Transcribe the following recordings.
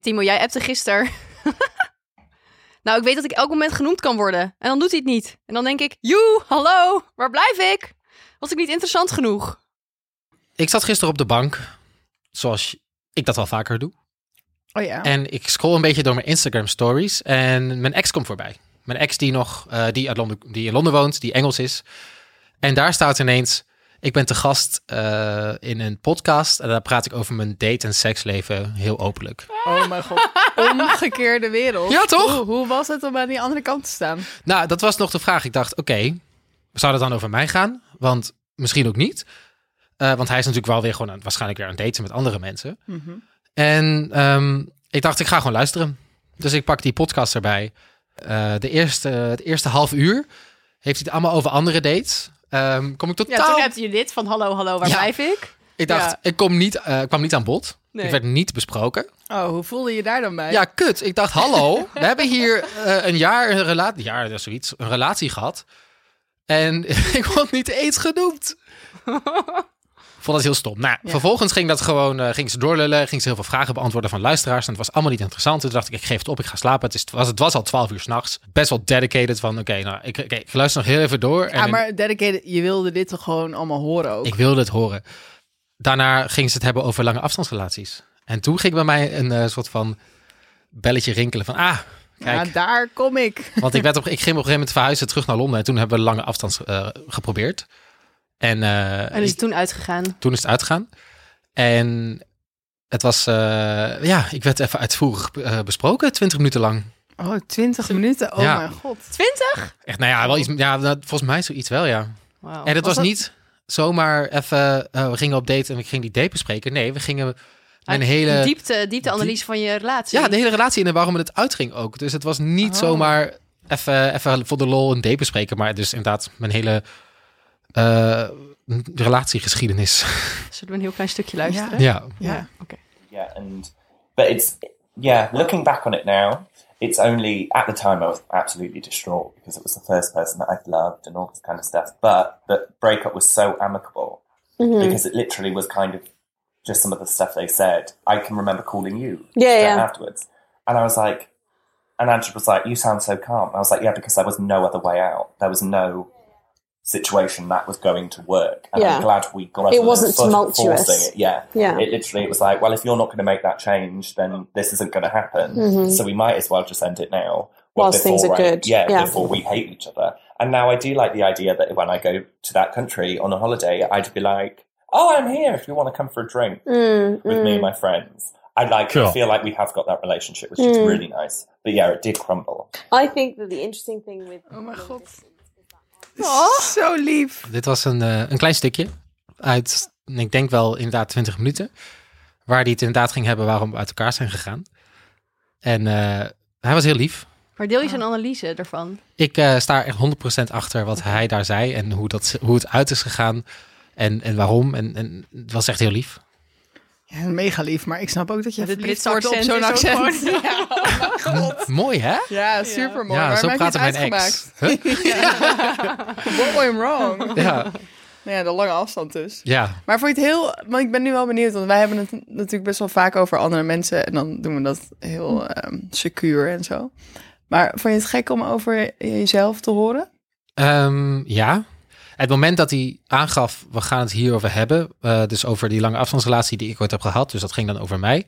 Timo, jij appte gisteren. nou, ik weet dat ik elk moment genoemd kan worden. En dan doet hij het niet. En dan denk ik, joe, hallo, waar blijf ik? Was ik niet interessant genoeg? Ik zat gisteren op de bank, zoals ik dat wel vaker doe. Oh ja. En ik scroll een beetje door mijn Instagram stories en mijn ex komt voorbij. Mijn ex die nog, eh, die, uit Londen, die in Londen woont, die Engels is. En daar staat ineens, ik ben te gast eh, in een podcast en daar praat ik over mijn date- en seksleven heel openlijk. Oh mijn god. Omgekeerde wereld. Ja, toch? Hoe, hoe was het om aan die andere kant te staan? Nou, dat was nog de vraag. Ik dacht, oké, zou dat dan over mij gaan? Want misschien ook niet. Eh, want hij is natuurlijk wel weer gewoon aan- waarschijnlijk weer aan het daten met andere mensen. Mhm. En ehm, ik dacht, ik ga gewoon luisteren. Dus ik pak die podcast erbij. Eh, de eerste, het eerste half uur heeft hij het allemaal over andere dates. Ehm, kom ik Ja, totaal... toen appte je dit van hallo, hallo, waar Ja. blijf ik? ik dacht, ja. ik kom niet, eh, ik kwam niet aan bod. Nee. Ik werd niet besproken. Oh, hoe voelde je daar dan bij? Ja, kut. Ik dacht, hallo, we hebben hier eh, een jaar een relatie, jaar of zoiets, een relatie gehad. En ik word niet eens genoemd. Ik vond dat heel stom. Nou, Ja. vervolgens ging dat gewoon, eh, ging ze doorlullen, ging ze heel veel vragen beantwoorden van luisteraars. En het was allemaal niet interessant. Toen dacht ik, ik geef het op, ik ga slapen. Het, is, het was, het was al twaalf uur s'nachts. Best wel dedicated van, oké, nou, ik, oké, ik luister nog heel even door. Ja, en maar dedicated, je wilde dit toch gewoon allemaal horen ook? ik wilde het horen. Daarna ging ze het hebben over lange afstandsrelaties. En toen ging bij mij een eh, soort van belletje rinkelen van, ah, kijk. Ja, Nou, daar kom ik. Want ik, werd op, ik ging op een gegeven moment verhuizen terug naar Londen. En toen hebben we lange afstand eh, geprobeerd. En, eh, En is het toen uitgegaan. toen is het uitgegaan. En het was, eh, ja, ik werd even uitvoerig eh, besproken, 20 minuten lang. Oh, 20 minuten. Oh Ja. mijn god. Twintig? Echt, nou ja, wel iets, ja nou, volgens mij zoiets wel, ja. Wauw. en het was, was dat- niet zomaar even, eh, we gingen op date en we gingen die date bespreken. Nee, we gingen mijn Uit- hele... Diepte, diepteanalyse van je relatie. Ja, de hele relatie en waarom het uitging ook. Dus het was niet Oh. zomaar even, even voor de lol een date bespreken, maar dus inderdaad mijn hele eh, relatiegeschiedenis. Zullen we een heel klein stukje luisteren? ja. Ja. yeah and but it's yeah looking back on it now it's only at the time i was absolutely distraught because it was the first person that i'd loved and all this kind of stuff but the breakup was so amicable Mm-hmm. because it literally was kind of just some of the stuff they said i can remember calling you Yeah, straight yeah. afterwards and i was like and Andrew was like, "You sound so calm." I was like, "Yeah, because there was no other way out. There was no situation that was going to work." And Yeah. I'm glad we got. over It the wasn't foot tumultuous. forcing it. Yeah, Yeah. It literally it was like, "Well, if you're not going to make that change, then this isn't going to happen. So we might as well just end it now." Well, Mm-hmm. Whilst things are I- good. yeah, Yeah. before we hate each other. And now I do like the idea that when I go to that country on a holiday, I'd be like, "Oh, I'm here. If you want to come for a drink." Mm, with me and my friends. I like Cool. I feel like we have got that relationship, which is Mm. really nice. But yeah, it did crumble. I think that the interesting thing with Oh mijn god. Oh. Zo lief. Dit was een, eh, een klein stukje uit, ik denk wel inderdaad 20 minuten, waar die het inderdaad ging hebben waarom we uit elkaar zijn gegaan. En eh, hij was heel lief. Maar deel je zijn analyse ervan? Ik eh, sta echt 100% achter wat hij daar zei en hoe, dat, hoe het uit is gegaan en, en waarom. En, en het was echt heel lief. Ja, mega lief, maar ik snap ook dat je Dit verliefd Britse wordt op accent zo'n is ook accent. gewoon- Ja, oh mijn god. Mooi, hè? Ja, super mooi. ja, maar zo maakt praten niet mijn ex. uitgemaakt. Huh? What went wrong? Ja, Nou ja, de lange afstand dus. ja. Maar vond je het heel... Want ik ben nu wel benieuwd, want wij hebben het natuurlijk best wel vaak over andere mensen. En dan doen we dat Hm. heel ehm, secuur en zo. Maar vond je het gek om over jezelf te horen? Ehm, ja. Het moment dat hij aangaf, we gaan het hierover hebben, eh, dus over die lange afstandsrelatie die ik ooit heb gehad, dus dat ging dan over mij.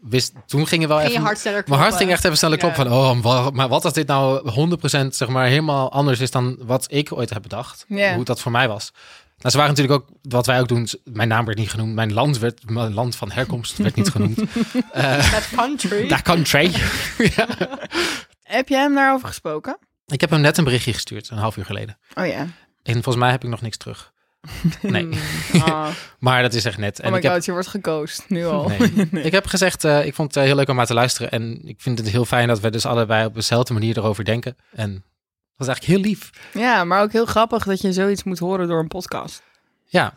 Wist, toen ging er wel Ging je even... hart sneller Mijn kloppen? hart ging echt even sneller kloppen van, oh, wa- maar wat als dit nou 100% zeg maar helemaal anders is dan wat ik ooit heb bedacht? Ja. Hoe dat voor mij was. Nou, ze waren natuurlijk ook, wat wij ook doen, ze- mijn naam werd niet genoemd, mijn land, werd, mijn land van herkomst werd niet genoemd. That country. Daar country. ja. Heb jij hem daarover gesproken? Ik heb hem net een berichtje gestuurd, een half uur geleden. Oh ja. En volgens mij heb ik nog niks terug. Nee, Oh, maar dat is echt net. En oh my ik, heb, god, je wordt geghost nu al. nee. ik heb gezegd, eh, ik vond het eh, heel leuk om naar te luisteren. En ik vind het heel fijn dat we dus allebei op dezelfde manier erover denken. En dat is eigenlijk heel lief. Ja, maar ook heel grappig dat je zoiets moet horen door een podcast. Ja,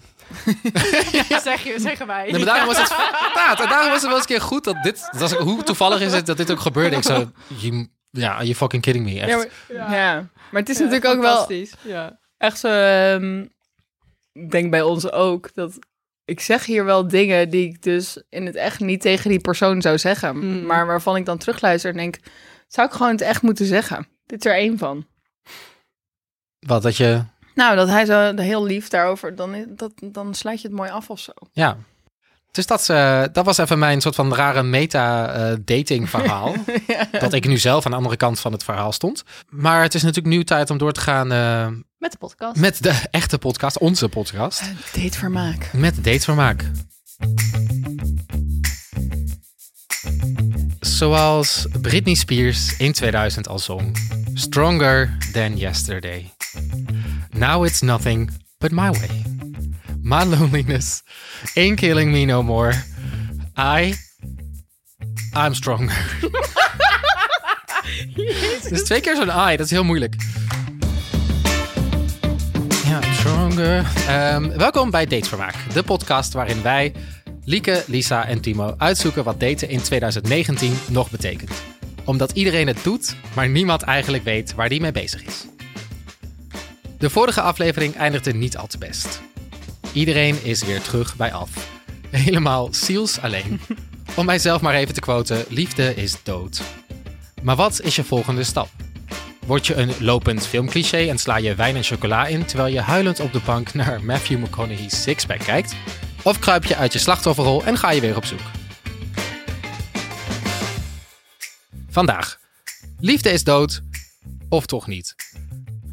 Zeg je, zeggen wij. nee, maar daarom was het, ja, en daarom was het wel eens een keer goed dat dit, dat was, hoe toevallig is het dat dit ook gebeurde. Ik zo, you- ja, you fucking kidding me, echt. Ja, maar, ja. maar het is natuurlijk ook wel Ja. echt zo... ehm, ik denk bij ons ook dat ik zeg hier wel dingen die ik dus in het echt niet tegen die persoon zou zeggen. Mm. Maar waarvan ik dan terugluister en denk, zou ik gewoon het echt moeten zeggen? Dit is er één van. Wat dat je. Nou, dat hij zo heel lief daarover, dan, is- dat, dan sluit je het mooi af of zo. Ja. Dus dat, is, eh, dat was even mijn soort van rare meta-dating verhaal. dat ik nu zelf aan de andere kant van het verhaal stond. Maar het is natuurlijk nu tijd om door te gaan eh, Met de podcast. met de echte podcast, onze podcast. Date vermaak. Met datevermaak. Zoals Britney Spears in 2000 al zong. Stronger than yesterday. Now it's nothing but my way. My loneliness ain't killing me no more. I... I'm stronger. Dus twee keer zo'n I, dat is heel moeilijk. Ja, stronger. Ehm, welkom bij Datevermaak, de podcast waarin wij, Lieke, Lisa en Timo, uitzoeken wat daten in 2019 nog betekent. Omdat iedereen het doet, maar niemand eigenlijk weet waar die mee bezig is. De vorige aflevering eindigde niet al te best. Iedereen is weer terug bij af. Helemaal ziels alleen. Om mijzelf maar even te quoten, liefde is dood. Maar wat is je volgende stap? Word je een lopend filmcliché en sla je wijn en chocola in terwijl je huilend op de bank naar Matthew McConaughey's Sixpack kijkt? Of kruip je uit je slachtofferrol en ga je weer op zoek? Vandaag. Liefde is dood, of toch niet?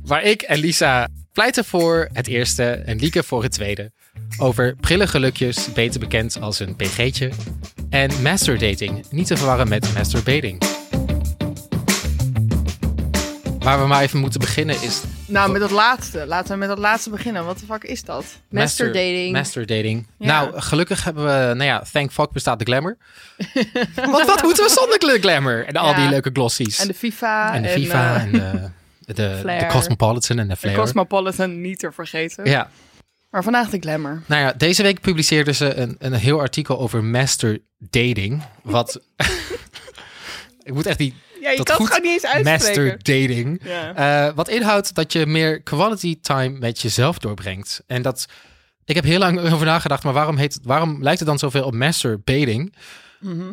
Waar ik en Lisa pleiten voor het eerste en Lieke voor het tweede. Over prille gelukjes, beter bekend als een PG'tje. En masturdating, niet te verwarren met masturbating. Waar we maar even moeten beginnen is Nou, met dat laatste. Laten we met dat laatste beginnen. Wat de fuck is dat? Master dating. Master dating. Ja. Nou, gelukkig hebben we, nou ja, thank fuck bestaat de glamour. Want wat moeten we zonder gl- glamour? En al Ja. die leuke glossies. En de FIFA. En de FIFA eh, en de, de, de, Flair. Cosmopolitan en de de Flair. Cosmopolitan niet te vergeten. ja, Maar vandaag de glamour. nou ja, deze week publiceerden ze een, een heel artikel over master dating. Wat, ik moet echt die Ja, je Dat kan goed het gewoon niet eens uitspreken. master dating. Ja. Eh, wat inhoudt dat je meer quality time met jezelf doorbrengt. En dat. Ik heb heel lang over nagedacht, maar waarom, heet, het- waarom lijkt het dan zoveel op masturbating?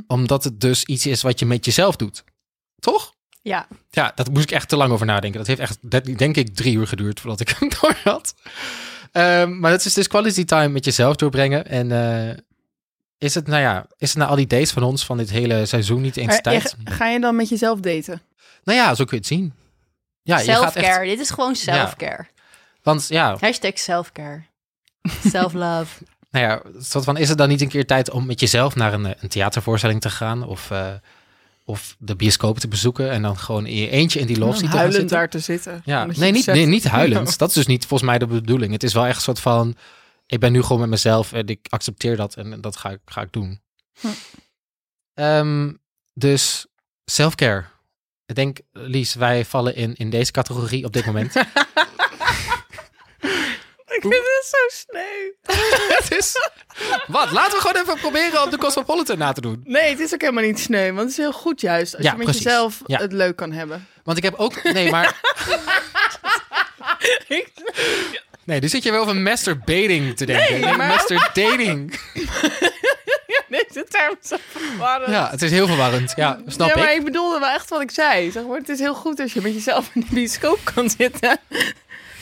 Omdat het dus iets is wat je met jezelf doet. Toch? Ja. Ja, daar moest ik echt te lang over nadenken. Dat heeft echt, dat- denk ik, drie uur geduurd voordat ik hem door had. Ehm, maar dat is dus quality time met jezelf doorbrengen. En eh, is het, nou ja, is het na al die dates van ons van dit hele seizoen niet eens Maar tijd? je- Eh, ga je dan met jezelf daten? Nou ja, zo kun je het zien. Ja, je gaat selfcare. echt, Dit is gewoon selfcare. want ja, Hashtag selfcare. Self-love. Nou ja, soort van, is het dan niet een keer tijd om met jezelf naar een, eh, een theatervoorstelling te gaan? Of, eh, of de bioscoop te bezoeken en dan gewoon in je eentje in die love seat te gaan Nou, huilend zitten? daar te zitten. Ja, Omdat je nee niet, beseft- nee, niet huilend. Nou, Dat is dus niet volgens mij de bedoeling. Het is wel echt een soort van, ik ben nu gewoon met mezelf en ik accepteer dat en dat ga ik, ga ik doen. Hm. Ehm, dus self-care. Ik denk, Lies, wij vallen in, in deze categorie op dit moment. Ik vind het zo sneu. Het is- Dus, wat? Laten we gewoon even proberen op de Cosmopolitan na te doen. Nee, het is ook helemaal niet sneu. Want het is heel goed juist als Ja, je met precies. jezelf Ja. het leuk kan hebben. Want ik heb ook. Nee, maar. Nee, dus zit je wel over masturbating te denken. Nee, masturdating. Nee, de term is zo verwarrend. Ja, het is heel verwarrend. Ja, snap ja, maar ik. ik bedoelde wel echt wat ik zei. Zeg maar, het is heel goed als je met jezelf in de bioscoop kan zitten.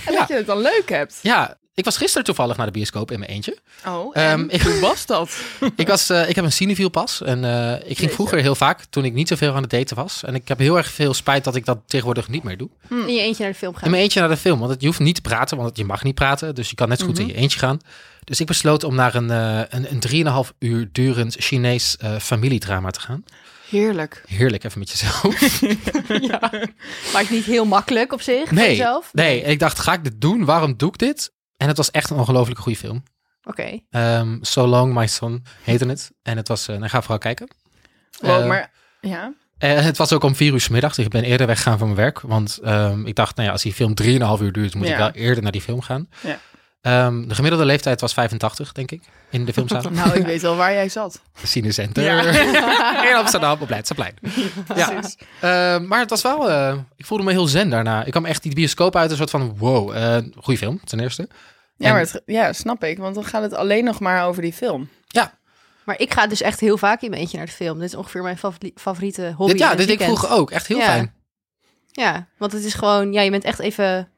En Ja. dat je het dan leuk hebt. Ja, ik was gisteren toevallig naar de bioscoop in mijn eentje. Oh, Ehm, en ik- hoe was dat? Ik, was, eh, ik heb een cineviel pas en eh, ik ging vroeger heel vaak toen ik niet zoveel aan het daten was. En ik heb heel erg veel spijt dat ik dat tegenwoordig niet meer doe. In je eentje naar de film gaan. In mijn eentje naar de film, want het- je hoeft niet te praten, want je mag niet praten. Dus je kan net zo goed in je eentje gaan. Dus ik besloot om naar een, eh, een, een 3,5 uur durend Chinees eh, familiedrama te gaan. Heerlijk. Heerlijk, even met jezelf. Maakt niet heel makkelijk op zich. Voor Nee, jezelf. nee, ik dacht, ga ik dit doen? Waarom doe ik dit? En het was echt een ongelooflijk goede film. Oké. Ehm, so Long My Son heette het. En het was, eh nou, ga vooral kijken. Wow, Eh, maar ja. eh, het was ook om vier uur 's middags. Ik ben eerder weggegaan van mijn werk. Want ehm, ik dacht, nou ja, als die film 3,5 uur duurt, moet ik Ja. wel eerder naar die film gaan. Ja. Ehm, de gemiddelde leeftijd was 85, denk ik, in de filmzaal. Nou, ik weet wel waar jij zat. Cinecenter. Ja. In Amsterdam, op Leidseplein. Ja. Eh, maar het was wel... eh, ik voelde me heel zen daarna. Ik kwam echt die bioscoop uit een soort van... Wow, eh goede film, ten eerste. Ja, maar het- ja, snap ik. Want dan gaat het alleen nog maar over die film. Maar ik ga dus echt heel vaak in mijn eentje naar de film. Dit is ongeveer mijn favori- favoriete hobby. Dit, ja, in het dit deed ik weekend. vroeger ook. Echt heel Ja. fijn. Ja, want het is gewoon, ja, je bent echt even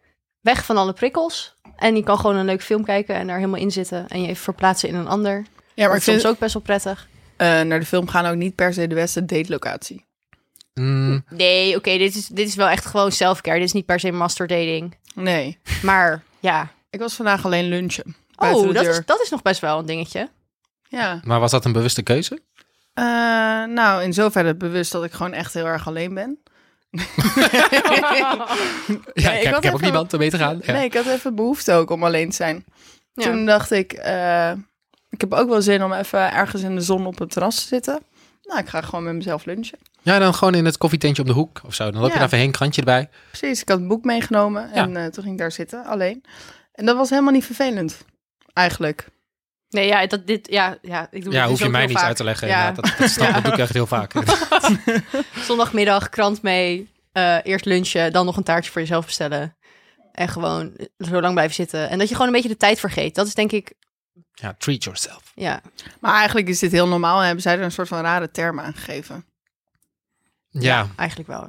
weg van alle prikkels. En je kan gewoon een leuk film kijken en daar helemaal in zitten. En je even verplaatsen in een ander. Ja, maar maar ik ik vind soms ook best wel prettig. eh, naar de film gaan ook niet per se de beste datelocatie. Mm, Nee, oké, dit, is, dit is wel echt gewoon self-care. Dit is niet per se master dating. Nee. Maar ja. Ik was vandaag alleen lunchen. Buiten Oh, de dat deur. is, dat is nog best wel een dingetje. Ja. maar was dat een bewuste keuze? Eh, nou, in zoverre bewust dat ik gewoon echt heel erg alleen ben. Ja, ik ik, heb, ik had heb ook even- niemand om mee te gaan. Ja. Nee, ik had even behoefte ook om alleen te zijn. Ja. Toen dacht ik, eh, ik heb ook wel zin om even ergens in de zon op het terras te zitten. Nou, ik ga gewoon met mezelf lunchen. Ja, dan gewoon in het koffietentje op de hoek of zo. Dan loop je Ja. daar even heen, krantje erbij. Precies, ik had een boek meegenomen en eh, toen ging ik daar zitten, alleen. En dat was helemaal niet vervelend, eigenlijk. Nee, ja, dat, dit, ja, ja, ik doe dit Ja, hoef dus je ook mij heel niet vaak. uit te leggen. Ja. Ja. Dat, dat, snap- dat doe ik echt heel vaak. Zondagmiddag, krant mee, eh, eerst lunchen, dan nog een taartje voor jezelf bestellen. En gewoon eh, zo lang blijven zitten. En dat je gewoon een beetje de tijd vergeet. Dat is denk ik, Ja, treat yourself. ja. Maar eigenlijk is dit heel normaal en hebben zij er een soort van rare term aan gegeven. Ja, Eigenlijk wel.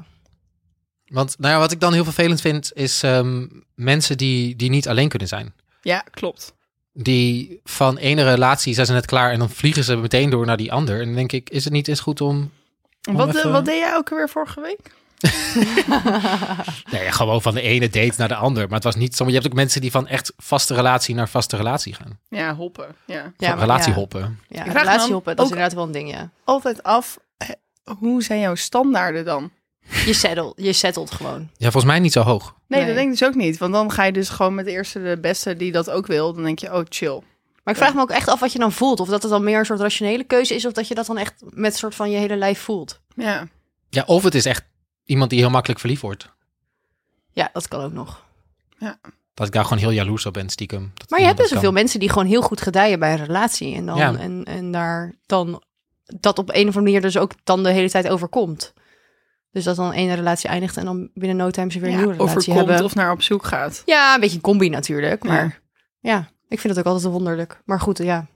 want nou ja, wat ik dan heel vervelend vind, is ehm, mensen die, die niet alleen kunnen zijn. Ja, klopt. Die van ene relatie zijn ze net klaar en dan vliegen ze meteen door naar die ander. En dan denk ik, is het niet eens goed om... om Wat, eh, even- wat deed jij ook weer vorige week? Nee, gewoon van de ene date naar de ander. Maar het was niet... sommige- Je hebt ook mensen die van echt vaste relatie naar vaste relatie gaan. Ja, hoppen. Ja. Ja, van maar relatie ja. hoppen. Ja, Ik vraag me relatie dan hoppen, dat is ook- inderdaad wel een ding, ja. Altijd af, eh, hoe zijn jouw standaarden dan? Je settle, je settelt gewoon. Ja, volgens mij niet zo hoog. Nee, Nee. dat denk ik dus ook niet. Want dan ga je dus gewoon met de eerste de beste die dat ook wil. Dan denk je, oh chill. Maar ik vraag me ook echt af wat je dan voelt. Of dat het dan meer een soort rationele keuze is, of dat je dat dan echt met soort van je hele lijf voelt. Ja. Ja, of het is echt iemand die heel makkelijk verliefd wordt. Ja, dat kan ook nog. Dat ik daar gewoon heel jaloers op ben, stiekem. Dat Maar je hebt iemand best dat wel veel kan. mensen die gewoon heel goed gedijen bij een relatie. En, dan, Ja. en, en daar dan dat op een of andere manier dus ook dan de hele tijd overkomt. Dus dat dan één relatie eindigt en dan binnen no time ze weer een nieuwe relatie overkomt hebben. of naar op zoek gaat. Ja, een beetje een combi natuurlijk. Ja. Maar ja. ik vind het ook altijd wonderlijk. Maar goed, ja.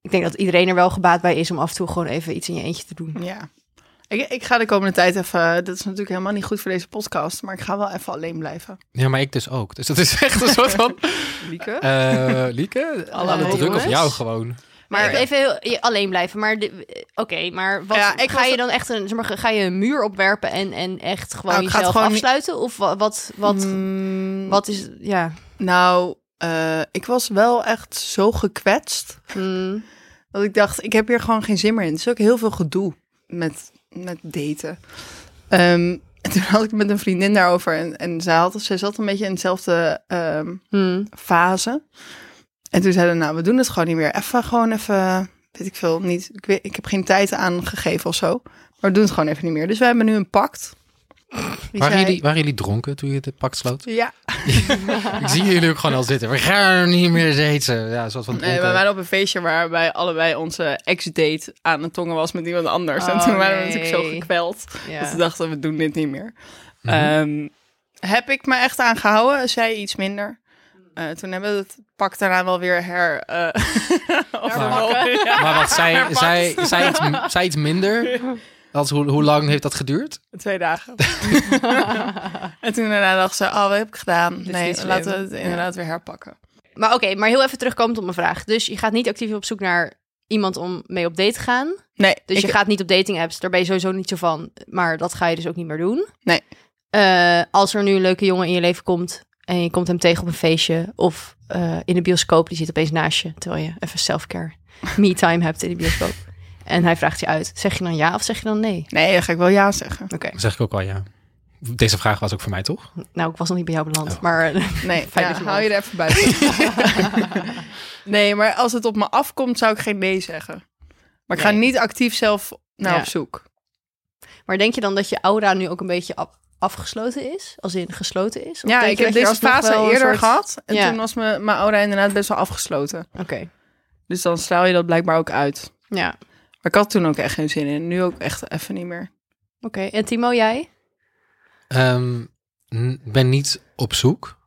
Ik denk dat iedereen er wel gebaat bij is om af en toe gewoon even iets in je eentje te doen. Ja. Ik, ik ga de komende tijd even... eh, Dat is natuurlijk helemaal niet goed voor deze podcast. Maar ik ga wel even alleen blijven. Ja, maar ik dus ook. Dus dat is echt een soort van... Lieke? eh Lieke, Alle alle druk jongens. op jou gewoon. Maar Ja. even heel, je- alleen blijven. Maar de- oké, maar wat, Ja, ik ga was- je dan echt een, zeg maar, ga je een muur opwerpen en, en echt gewoon Nou, ik ga het jezelf gewoon niet- afsluiten? Of wa- wat, wat, eh, Mm, wat is, ja. Nou, eh, ik was wel echt zo gekwetst. Mm. Dat ik dacht, ik heb hier gewoon geen zin meer in. Het is ook heel veel gedoe met, met daten. Ehm, en toen had ik met een vriendin daarover. En, en zij, had, zij zat een beetje in dezelfde ehm, Mm. fase. En toen zeiden we, nou, we doen het gewoon niet meer. Even gewoon even, weet ik veel, niet. Ik, weet, ik heb geen tijd aangegeven of zo. Maar we doen het gewoon even niet meer. Dus we hebben nu een pact. Die Waren zei- jullie, waren jullie dronken toen je dit pak sloot? Ja, Ik zie jullie ook gewoon al zitten. We gaan niet meer daten. Ja, een soort van nee, dronken. we waren op een feestje waarbij allebei onze ex-date aan het tongen was met iemand anders. en Oh, toen waren we nee. natuurlijk zo gekweld. Dat Ja. ze dachten, we doen dit niet meer. Ehm, heb ik me echt aan gehouden? Zij iets minder. Eh, toen hebben we het pak daarna wel weer her... eh, overwogen. Ja. Maar wat, zij, Herpakt. zij, zij, iets, zij iets minder? Als, hoe, hoe lang heeft dat geduurd? Twee dagen. en toen daarna dacht ze, oh, wat heb ik gedaan? is nee, niet slim. laten we het inderdaad weer herpakken. Maar oké, maar heel even terugkomend op mijn vraag. Dus je gaat niet actief op zoek naar iemand om mee op date te gaan. Nee, Dus ik- je gaat niet op dating apps, daar ben je sowieso niet zo van. Maar dat ga je dus ook niet meer doen. Nee. Eh, als er nu een leuke jongen in je leven komt en je komt hem tegen op een feestje of eh, in de bioscoop, die zit opeens naast je, terwijl je even self-care, me-time hebt in de bioscoop. En hij vraagt je uit, zeg je dan ja of zeg je dan nee? Nee, dan ga ik wel ja zeggen. Oké, Dat zeg ik ook al, ja. Deze vraag was ook voor mij, toch? nou ik was nog niet bij jou beland, Oh. maar Nee, Fijn ja, dat je hou je er even buiten. nee, maar als het op me afkomt, zou ik geen nee zeggen. Maar ik ga Nee. niet actief zelf naar Ja. op zoek. Maar denk je dan dat je aura nu ook een beetje af- afgesloten is? Als in gesloten is? Of Ja, denk ik je heb dat je deze alsnog fase wel een eerder soort- gehad. En Ja. toen was me- mijn aura inderdaad best wel afgesloten. Oké, Dus dan straal je dat blijkbaar ook uit. ja. Oké, Maar ik had toen ook echt geen zin in. Nu ook echt even niet meer. en Timo, jij? Ehm, n- ben niet op zoek.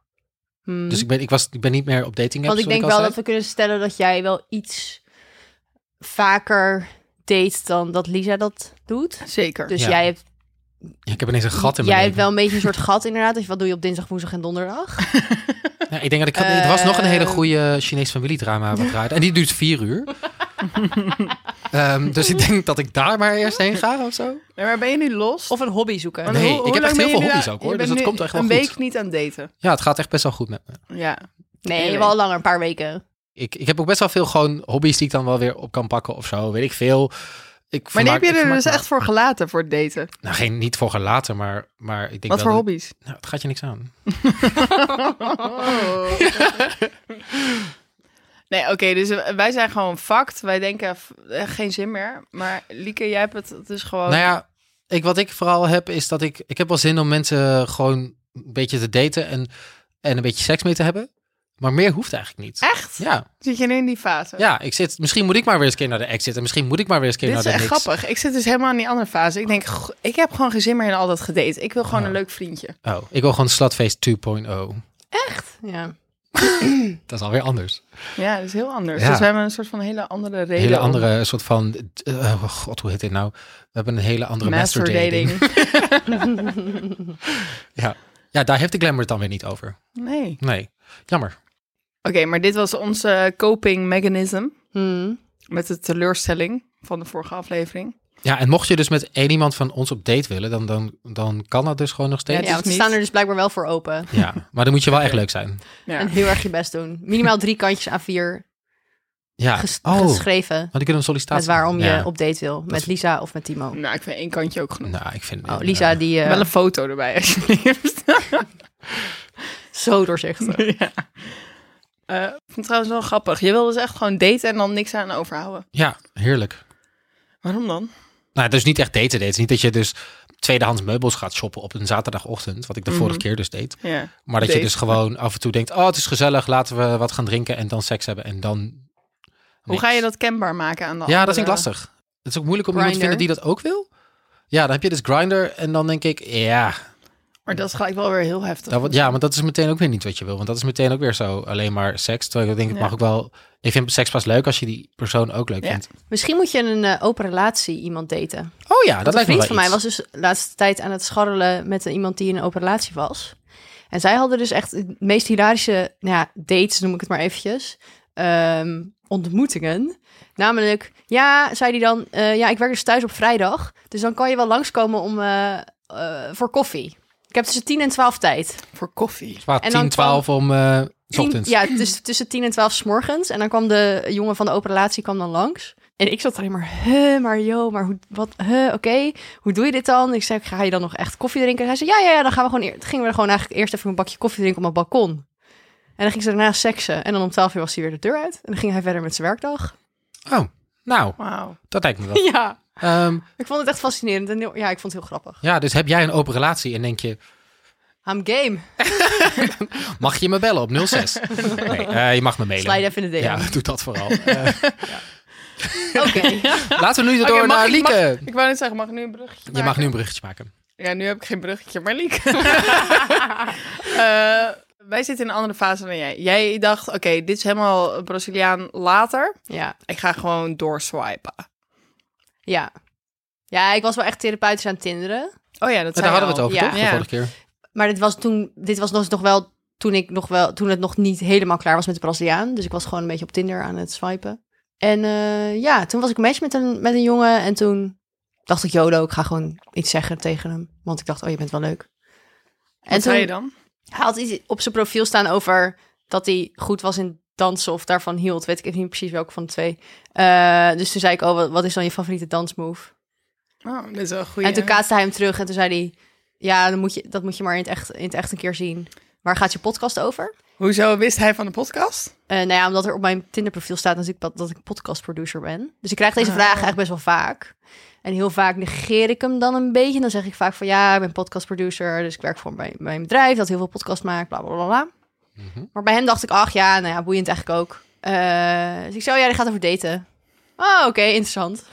Hmm. Dus ik ben, ik, was, ik ben niet meer op dating apps. Want ik zoals denk wel al dat zei. we kunnen stellen dat jij wel iets vaker date dan dat Lisa dat doet. Zeker. Dus Ja. jij hebt, Ja, ik heb ineens een gat in mijn jij hebt leven. wel een beetje een soort gat inderdaad. Dus wat doe je op dinsdag, woensdag en donderdag? Ja, ik denk dat ik... had- er was nog een hele Eh. goede Chinees familiedrama wat draaide. En die duurt vier uur. Ehm, dus ik denk dat ik daar maar eerst heen ga of zo. Nee, maar ben je nu los? Of een hobby zoeken. Want Nee, ik heb lang echt ben heel je veel nu hobby's aan- ook, hoor, je dus bent dat nu komt echt wel een goed. week niet aan daten. Ja, het gaat echt best wel goed met me. Ja. Nee, wel langer, een paar weken. Ik, ik heb ook best wel veel gewoon hobby's die ik dan wel weer op kan pakken of zo. Weet ik veel. Ik Maar die vermaak- heb je ik er vermaak dus me- echt voor gelaten voor het daten. Nou, geen, niet voor gelaten, maar, maar ik denk Wat wel voor dat- hobby's? Nou, het gaat je niks aan. Oh. Nee, oké, dus wij zijn gewoon fucked. Wij denken f- eh, geen zin meer. Maar Lieke, jij hebt het dus gewoon. Nou ja, ik, wat ik vooral heb is dat ik... Ik heb wel zin om mensen gewoon een beetje te daten en, en een beetje seks mee te hebben. Maar meer hoeft eigenlijk niet. Echt? Ja, Zit je nu in die fase? ja, ik zit... Misschien moet ik maar weer eens een keer naar de exit. En misschien moet ik maar weer eens een keer Dit is naar de echt niks. grappig. Ik zit dus helemaal in die andere fase. Ik denk, goh, ik heb gewoon geen zin meer in al dat gedate. Ik wil gewoon Ja. een leuk vriendje. Oh, ik wil gewoon Slutface 2.0. Ja. Dat is alweer anders. Ja, dat is heel anders. Ja. Dus we hebben een soort van hele andere reden. Een hele om andere soort van... eh, oh god, hoe heet dit nou? We hebben een hele andere master dating. Ja. ja, daar heeft de glamour het dan weer niet over. Nee. Oké, Nee, jammer. maar dit was onze coping mechanism Hmm. met de teleurstelling van de vorige aflevering. Ja, en mocht je dus met één iemand van ons op date willen, dan, dan, dan kan dat dus gewoon nog Ja, Ja, steeds. Ja, want is ze niet- staan er dus blijkbaar wel voor open. maar dan moet je wel echt leuk zijn. Ja. En heel erg je best doen. Minimaal drie kantjes aan vier Ja. ges- oh, want geschreven. die kunnen een Met sollicitatie. waarom je Ja. op date wil. Met Lisa of met Timo. Nou, ik vind één kantje ook genoeg. Nou, ik vind... Oh, Lisa die eh, Wel een foto erbij, alsjeblieft. zo doorzichtig. ja. Eh, ik vind het trouwens wel grappig. Je wil dus echt gewoon daten en dan niks aan overhouden. Ja, heerlijk. Waarom dan? Nou, dus niet echt daten daten. Het is Niet dat je dus tweedehands meubels gaat shoppen op een zaterdagochtend, wat ik Mhm. de vorige keer dus deed. Ja. Maar dat je Date. dus gewoon af en toe denkt, oh, het is gezellig, laten we wat gaan drinken en dan seks hebben en dan... Hoe niks. ga je dat kenbaar maken aan de Ja, dat andere- vind ik lastig. Het is ook moeilijk om iemand te Grindr. vinden die dat ook wil. Ja, dan heb je dus Grinder en dan denk ik, ja, Maar dat is gelijk wel weer heel heftig. dat, wordt- ja, maar dat is meteen ook weer niet wat je wil. Want dat is meteen ook weer zo alleen maar seks. Terwijl ik denk, het Ja. mag ook wel... Ik vind seks pas leuk als je die persoon ook leuk Ja. vindt. Misschien moet je in een eh, open relatie iemand daten. Oh ja, Want dat lijkt een me vriend wel van mij iets. was dus de laatste tijd aan het scharrelen met een- iemand die in een open relatie was. En zij hadden dus echt de meest hilarische nou ja, dates, noem ik het maar eventjes, ehm, ontmoetingen. Namelijk, ja, zei die dan, eh, ja, ik werk dus thuis op vrijdag, dus dan kan je wel langskomen om, eh, eh, voor koffie. Ik heb tussen 10 en 12 tijd. Voor koffie. Zwaar, en dan 10, 12 om... eh, 's Tien- ochtends. Ja, tussen, tussen 10 en 12 's morgens. En dan kwam de jongen van de open relatie kwam dan langs. En ik zat alleen maar, hè, maar joh, maar hoe, wat, hè, oké, hoe doe je dit dan? Ik zei, ga je dan nog echt koffie drinken? En hij zei, ja, ja, ja, dan gaan we gewoon, eer- gingen we gewoon eigenlijk eerst even een bakje koffie drinken op mijn balkon. En dan ging ze daarna seksen. En dan om 12 uur was hij weer de deur uit. En dan ging hij verder met zijn werkdag. Oh, nou, Wauw. dat lijkt me wel. Ja, Ehm, ik vond het echt fascinerend. En heel- ja, ik vond het heel grappig. ja, dus heb jij een open relatie en denk je, I'm game. mag je me bellen op 06? Nee, eh, je mag me mailen. Slide even in de DM. Ja, doe dat vooral. Eh, Oké. laten we nu door Oké, mag naar ik- mag- Lieke. Ik wou net zeggen, mag ik nu een bruggetje Hm. Je maken? mag nu een bruggetje maken. Ja, nu heb ik geen bruggetje, maar Liek. wij zitten in een andere fase dan jij. Jij dacht, oké, dit is helemaal Braziliaan later. Ja. Ik ga gewoon doorswipen. Ja. Ja, ik was wel echt therapeutisch aan het tinderen. Oh ja, dat Ja, daar zei je hadden we het al. over, Ja. toch? De Ja. vorige keer. Maar dit was toen, dit was dus nog wel toen ik nog wel, toen het nog niet helemaal klaar was met de Braziliaan. Dus ik was gewoon een beetje op Tinder aan het swipen. En eh, ja, toen was ik een match met een, met een jongen. En toen dacht ik, YOLO, ik ga gewoon iets zeggen tegen hem. Want ik dacht, oh, je bent wel leuk. Wat zei je dan? Hij had iets op zijn profiel staan over dat hij goed was in dansen of daarvan hield. Weet ik even niet precies welke van de twee. Eh, dus toen zei ik, oh, wat- wat is dan je favoriete dansmove? Oh, dit is wel goed. En toen kaatste hij hem terug en toen zei hij... Ja, dan moet je, dat moet je maar in het, echt, in het echt een keer zien. Waar gaat je podcast over? Hoezo wist hij van de podcast? Eh, nou ja, omdat er op mijn Tinder-profiel staat natuurlijk dat, dat ik podcastproducer ben. Dus ik krijg deze vragen echt best wel vaak. En heel vaak negeer ik hem dan een beetje. En dan zeg ik vaak van ja, ik ben podcastproducer. Dus ik werk voor mijn, mijn bedrijf dat heel veel podcast maakt. Bla bla bla. bla. Maar bij hem dacht ik, ach ja, nou ja, boeiend eigenlijk ook. Eh, dus ik zei, oh ja, die gaat over daten. Oh, oké, interessant.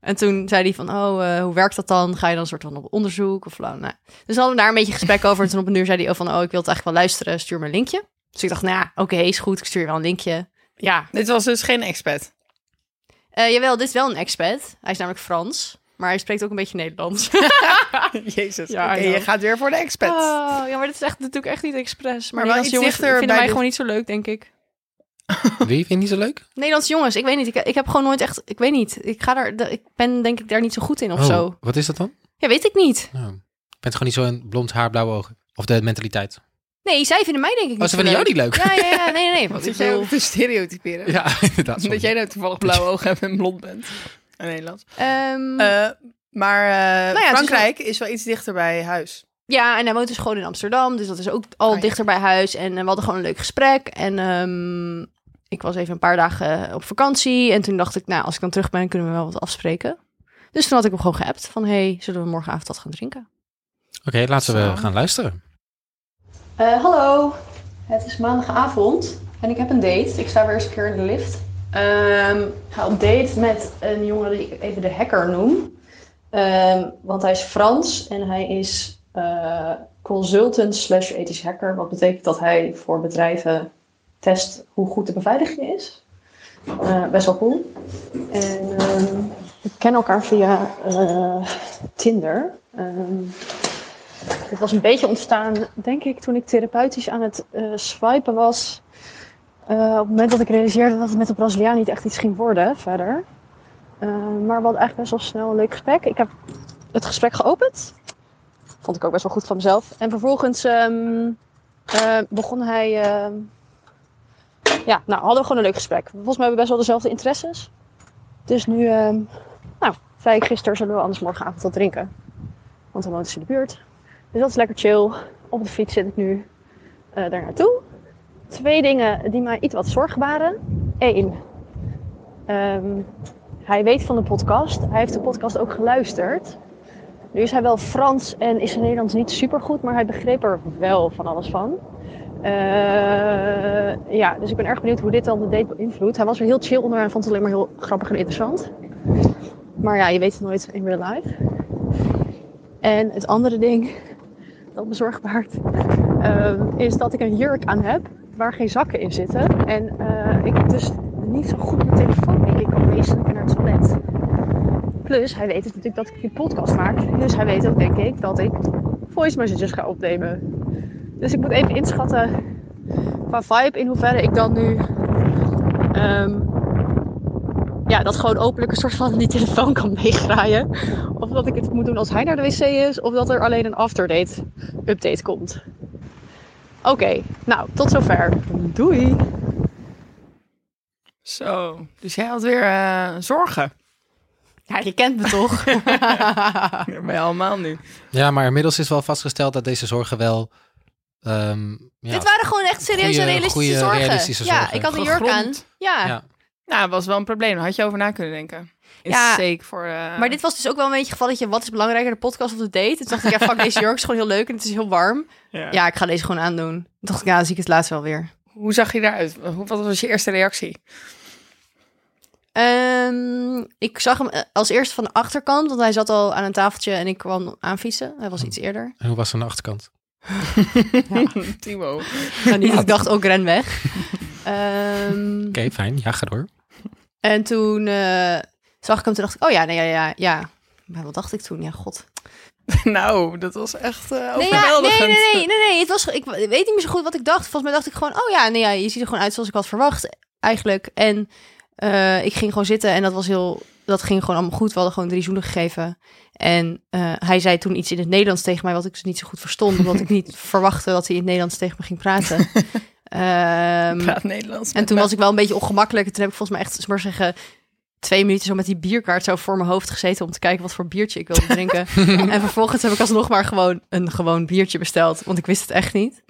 En toen zei hij van, oh, eh, hoe werkt dat dan? Ga je dan soort van op onderzoek? Of, nou, nou. Dus hadden we daar een beetje gesprek over. En toen op een uur zei hij oh, van, oh, ik wil het eigenlijk wel luisteren. Stuur me een linkje. Dus ik dacht, nou ja, oké, is goed. Ik stuur je wel een linkje. Ja, Dit was dus geen expat. Eh, jawel, dit is wel een expat. Hij is namelijk Frans, maar hij spreekt ook een beetje Nederlands. Ah, Jezus. Ja, Oké, I know. je gaat weer voor de expat. Oh, ja, maar dit is echt natuurlijk echt niet expres. Maar, Maar wel Nederlandse jongens iets dichter vinden bij mij dit- gewoon niet zo leuk, denk ik. Wie vind je niet zo leuk? Nederlandse jongens, ik weet niet. Ik, ik heb gewoon nooit echt... Ik weet niet. Ik, ga daar, ik ben denk ik daar niet zo goed in of Oh, zo. Wat is dat dan? Ja, weet ik niet. Nou, je bent gewoon niet zo een blond haar, blauwe ogen. Of de mentaliteit. Nee, zij vinden mij denk ik niet Oh, ze vinden jou niet leuk? Ja, ja, ja. Nee, nee, nee. Want ik Zit jij bedoel, ook te stereotyperen? Ja, inderdaad. sorry. Omdat jij nou toevallig blauwe ogen hebt en blond bent. In Nederland. ehm, maar eh, het is Frankrijk is wel... iets dichter bij huis. Ja, en hij woont dus gewoon in Amsterdam. Dus dat is ook al Oh ja. dichter bij huis. En eh, we hadden gewoon een leuk gesprek. En ehm, ik was even een paar dagen eh, op vakantie. En toen dacht ik, nou, als ik dan terug ben, kunnen we wel wat afspreken. Dus toen had ik hem gewoon geappt van, hey, zullen we morgenavond wat gaan drinken? Oké, laten we Zo. gaan luisteren. Eh, hallo, het is maandagavond en ik heb een date. Ik sta weer eens een keer in de lift. Ehm, ik ga op date met een jongen die ik even de hacker noem. Ehm, want hij is Frans en hij is eh, consultant slash ethisch hacker. Wat betekent dat hij voor bedrijven test hoe goed de beveiliging is. Eh, best wel cool. En ehm, we kennen elkaar via eh, Tinder. Ehm, het was een beetje ontstaan, denk ik, toen ik therapeutisch aan het eh, swipen was. Eh, op het moment dat ik realiseerde dat het met de Braziliaan niet echt iets ging worden verder. Eh, maar we hadden eigenlijk best wel snel een leuk gesprek. Ik heb het gesprek geopend. Vond ik ook best wel goed van mezelf. En vervolgens ehm, eh, begon hij. ehm, ja, nou hadden we gewoon een leuk gesprek. Volgens mij hebben we best wel dezelfde interesses. Dus nu, ehm, nou, zei ik gisteren, zullen we anders morgenavond wat drinken? Want dan woont ze in de buurt. Dus dat is lekker chill. Op de fiets zit ik nu eh daar naartoe. Twee dingen die mij iets wat zorg waren. Eén, ehm, hij weet van de podcast. Hij heeft de podcast ook geluisterd. Nu is hij wel Frans en is zijn Nederlands niet super goed, maar hij begreep er wel van alles van. Eh, ja, dus ik ben erg benieuwd hoe dit dan de date beïnvloedt. Hij was weer heel chill onder en vond het alleen maar heel grappig en interessant. Maar ja, je weet het nooit in real life. En het andere ding dat me zorg baart, ehm, is dat ik een jurk aan heb waar geen zakken in zitten. En eh, ik dus niet zo goed mijn telefoon denk ik kan lezen en naar het toilet. Plus, hij weet dus natuurlijk dat ik die podcast maak. Dus hij weet ook denk ik dat ik voice messages ga opnemen. Dus ik moet even inschatten qua vibe in hoeverre ik dan nu... ehm, ja, dat gewoon openlijk een soort van die telefoon kan meegraaien. Of dat ik het moet doen als hij naar de wc is. Of dat er alleen een afterdate update komt. Oké, nou, tot zover. Doei! Zo, dus jij had weer eh, zorgen. Ja, je kent me toch? Bij allemaal nu. Ja, maar inmiddels is wel vastgesteld dat deze zorgen wel... ehm, ja, Dit waren gewoon echt serieuze Goeie- realistische goeie zorgen. realistische ja, zorgen. ik had een jurk aan. Gegrond. Ja. Ja. Nou, dat was wel een probleem. Daar had je over na kunnen denken. Is Ja, zeker voor... eh, Maar dit was dus ook wel een beetje het gevalletje, wat is belangrijker, de podcast of de date? En toen dacht ik, ja, fuck, deze jurk is gewoon heel leuk en het is heel warm. Ja, ik ga deze gewoon aandoen. Toen dacht ik, ja, dan zie ik het laatst wel weer. Hoe zag je daaruit? Hoe- Wat was je eerste reactie? Ehm, ik zag hem eh, als eerste van de achterkant, want hij zat al aan een tafeltje en ik kwam aanfietsen. Hij Hm. was iets eerder. En hoe was het aan de achterkant? Timo. Nou, niet dat ik dacht, ook ren weg. Ehm, Oké, fijn. Ja, ga door. En toen eh, zag ik hem, toen dacht ik, oh ja, nee, ja, ja, ja. Maar wat dacht ik toen? Ja, god. nou, dat was echt eh Nee, ja, nee, overweldigend. nee, nee, nee, nee. Het was, ik weet niet meer zo goed wat ik dacht. Volgens mij dacht ik gewoon, oh ja, nee, ja, je ziet er gewoon uit zoals ik had verwacht eigenlijk. En eh, ik ging gewoon zitten en dat was heel, dat ging gewoon allemaal goed. We hadden gewoon drie zoenen gegeven. En eh, hij zei toen iets in het Nederlands tegen mij, wat ik dus niet zo goed verstond. Omdat ik niet verwachtte dat hij in het Nederlands tegen me ging praten. Ehm, Praat Nederlands. En toen was ik wel een beetje ongemakkelijk. En toen heb ik volgens mij echt, maar zeggen, twee minuten zo met die bierkaart zo voor mijn hoofd gezeten om te kijken wat voor biertje ik wilde drinken. en vervolgens heb ik alsnog maar gewoon een gewoon biertje besteld, want ik wist het echt niet.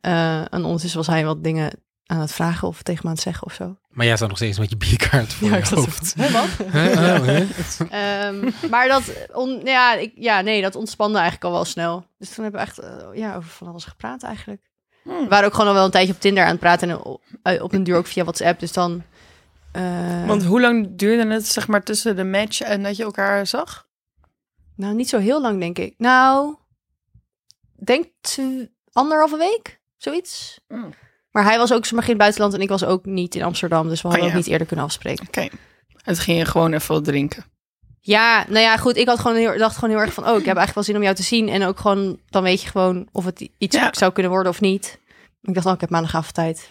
Eh, en ondertussen was hij wat dingen aan het vragen of tegen me aan het zeggen of zo. Maar jij staat nog steeds met je bierkaart voor Ja, ik je zat zo hoofd. van, hè, wat? Hè? Oh, hè? Ehm, maar dat, on, ja, ik, ja, nee, dat ontspande eigenlijk al wel snel. Dus toen hebben we echt eh, ja, over van alles gepraat eigenlijk. We waren ook gewoon al wel een tijdje op Tinder aan het praten en o- eh, op een duur ook via WhatsApp. Dus dan eh, Want hoe lang duurde het zeg maar tussen de match en dat je elkaar zag? nou, niet zo heel lang, denk ik. Nou, denk tw- anderhalve week, zoiets. Mm. Maar hij was ook zomaar in het buitenland en ik was ook niet in Amsterdam. Dus we hadden Oh, ja. ook niet eerder kunnen afspreken. Het ging je gewoon even wat drinken. Ja, nou ja, goed. Ik had gewoon heel, dacht gewoon heel erg van... oh, ik heb eigenlijk wel zin om jou te zien. En ook gewoon, dan weet je gewoon of het iets Ja. zou kunnen worden of niet. Ik dacht, oh, ik heb maandagavond tijd.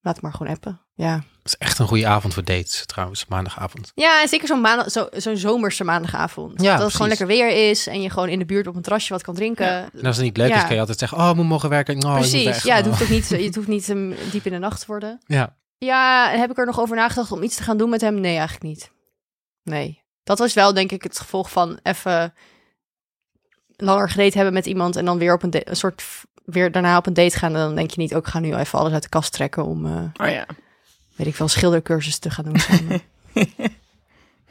Laat het maar gewoon appen. Ja, is echt een goede avond voor dates trouwens, maandagavond. ja en zeker zo'n maandag, zo, zo'n zomerse maandagavond. dat het precies. gewoon lekker weer is... en je gewoon in de buurt op een terrasje wat kan drinken. En als het niet leuk Ja. is, kan je altijd zeggen, oh, ik moet morgen werken. Oh, ik moet Precies, weg. ja, het Oh. hoeft ook niet, het hoeft niet um, diep in de nacht te worden. Ja. Ja, en heb ik er nog over nagedacht om iets te gaan doen met hem? Nee, eigenlijk niet. Nee. Dat was wel, denk ik, het gevolg van even langer gedate hebben met iemand en dan weer op een, da- een soort v- weer daarna op een date gaan. En dan denk je niet, ook ga nu even alles uit de kast trekken om, eh, Oh ja. weet ik veel, schildercursus te gaan doen. samen.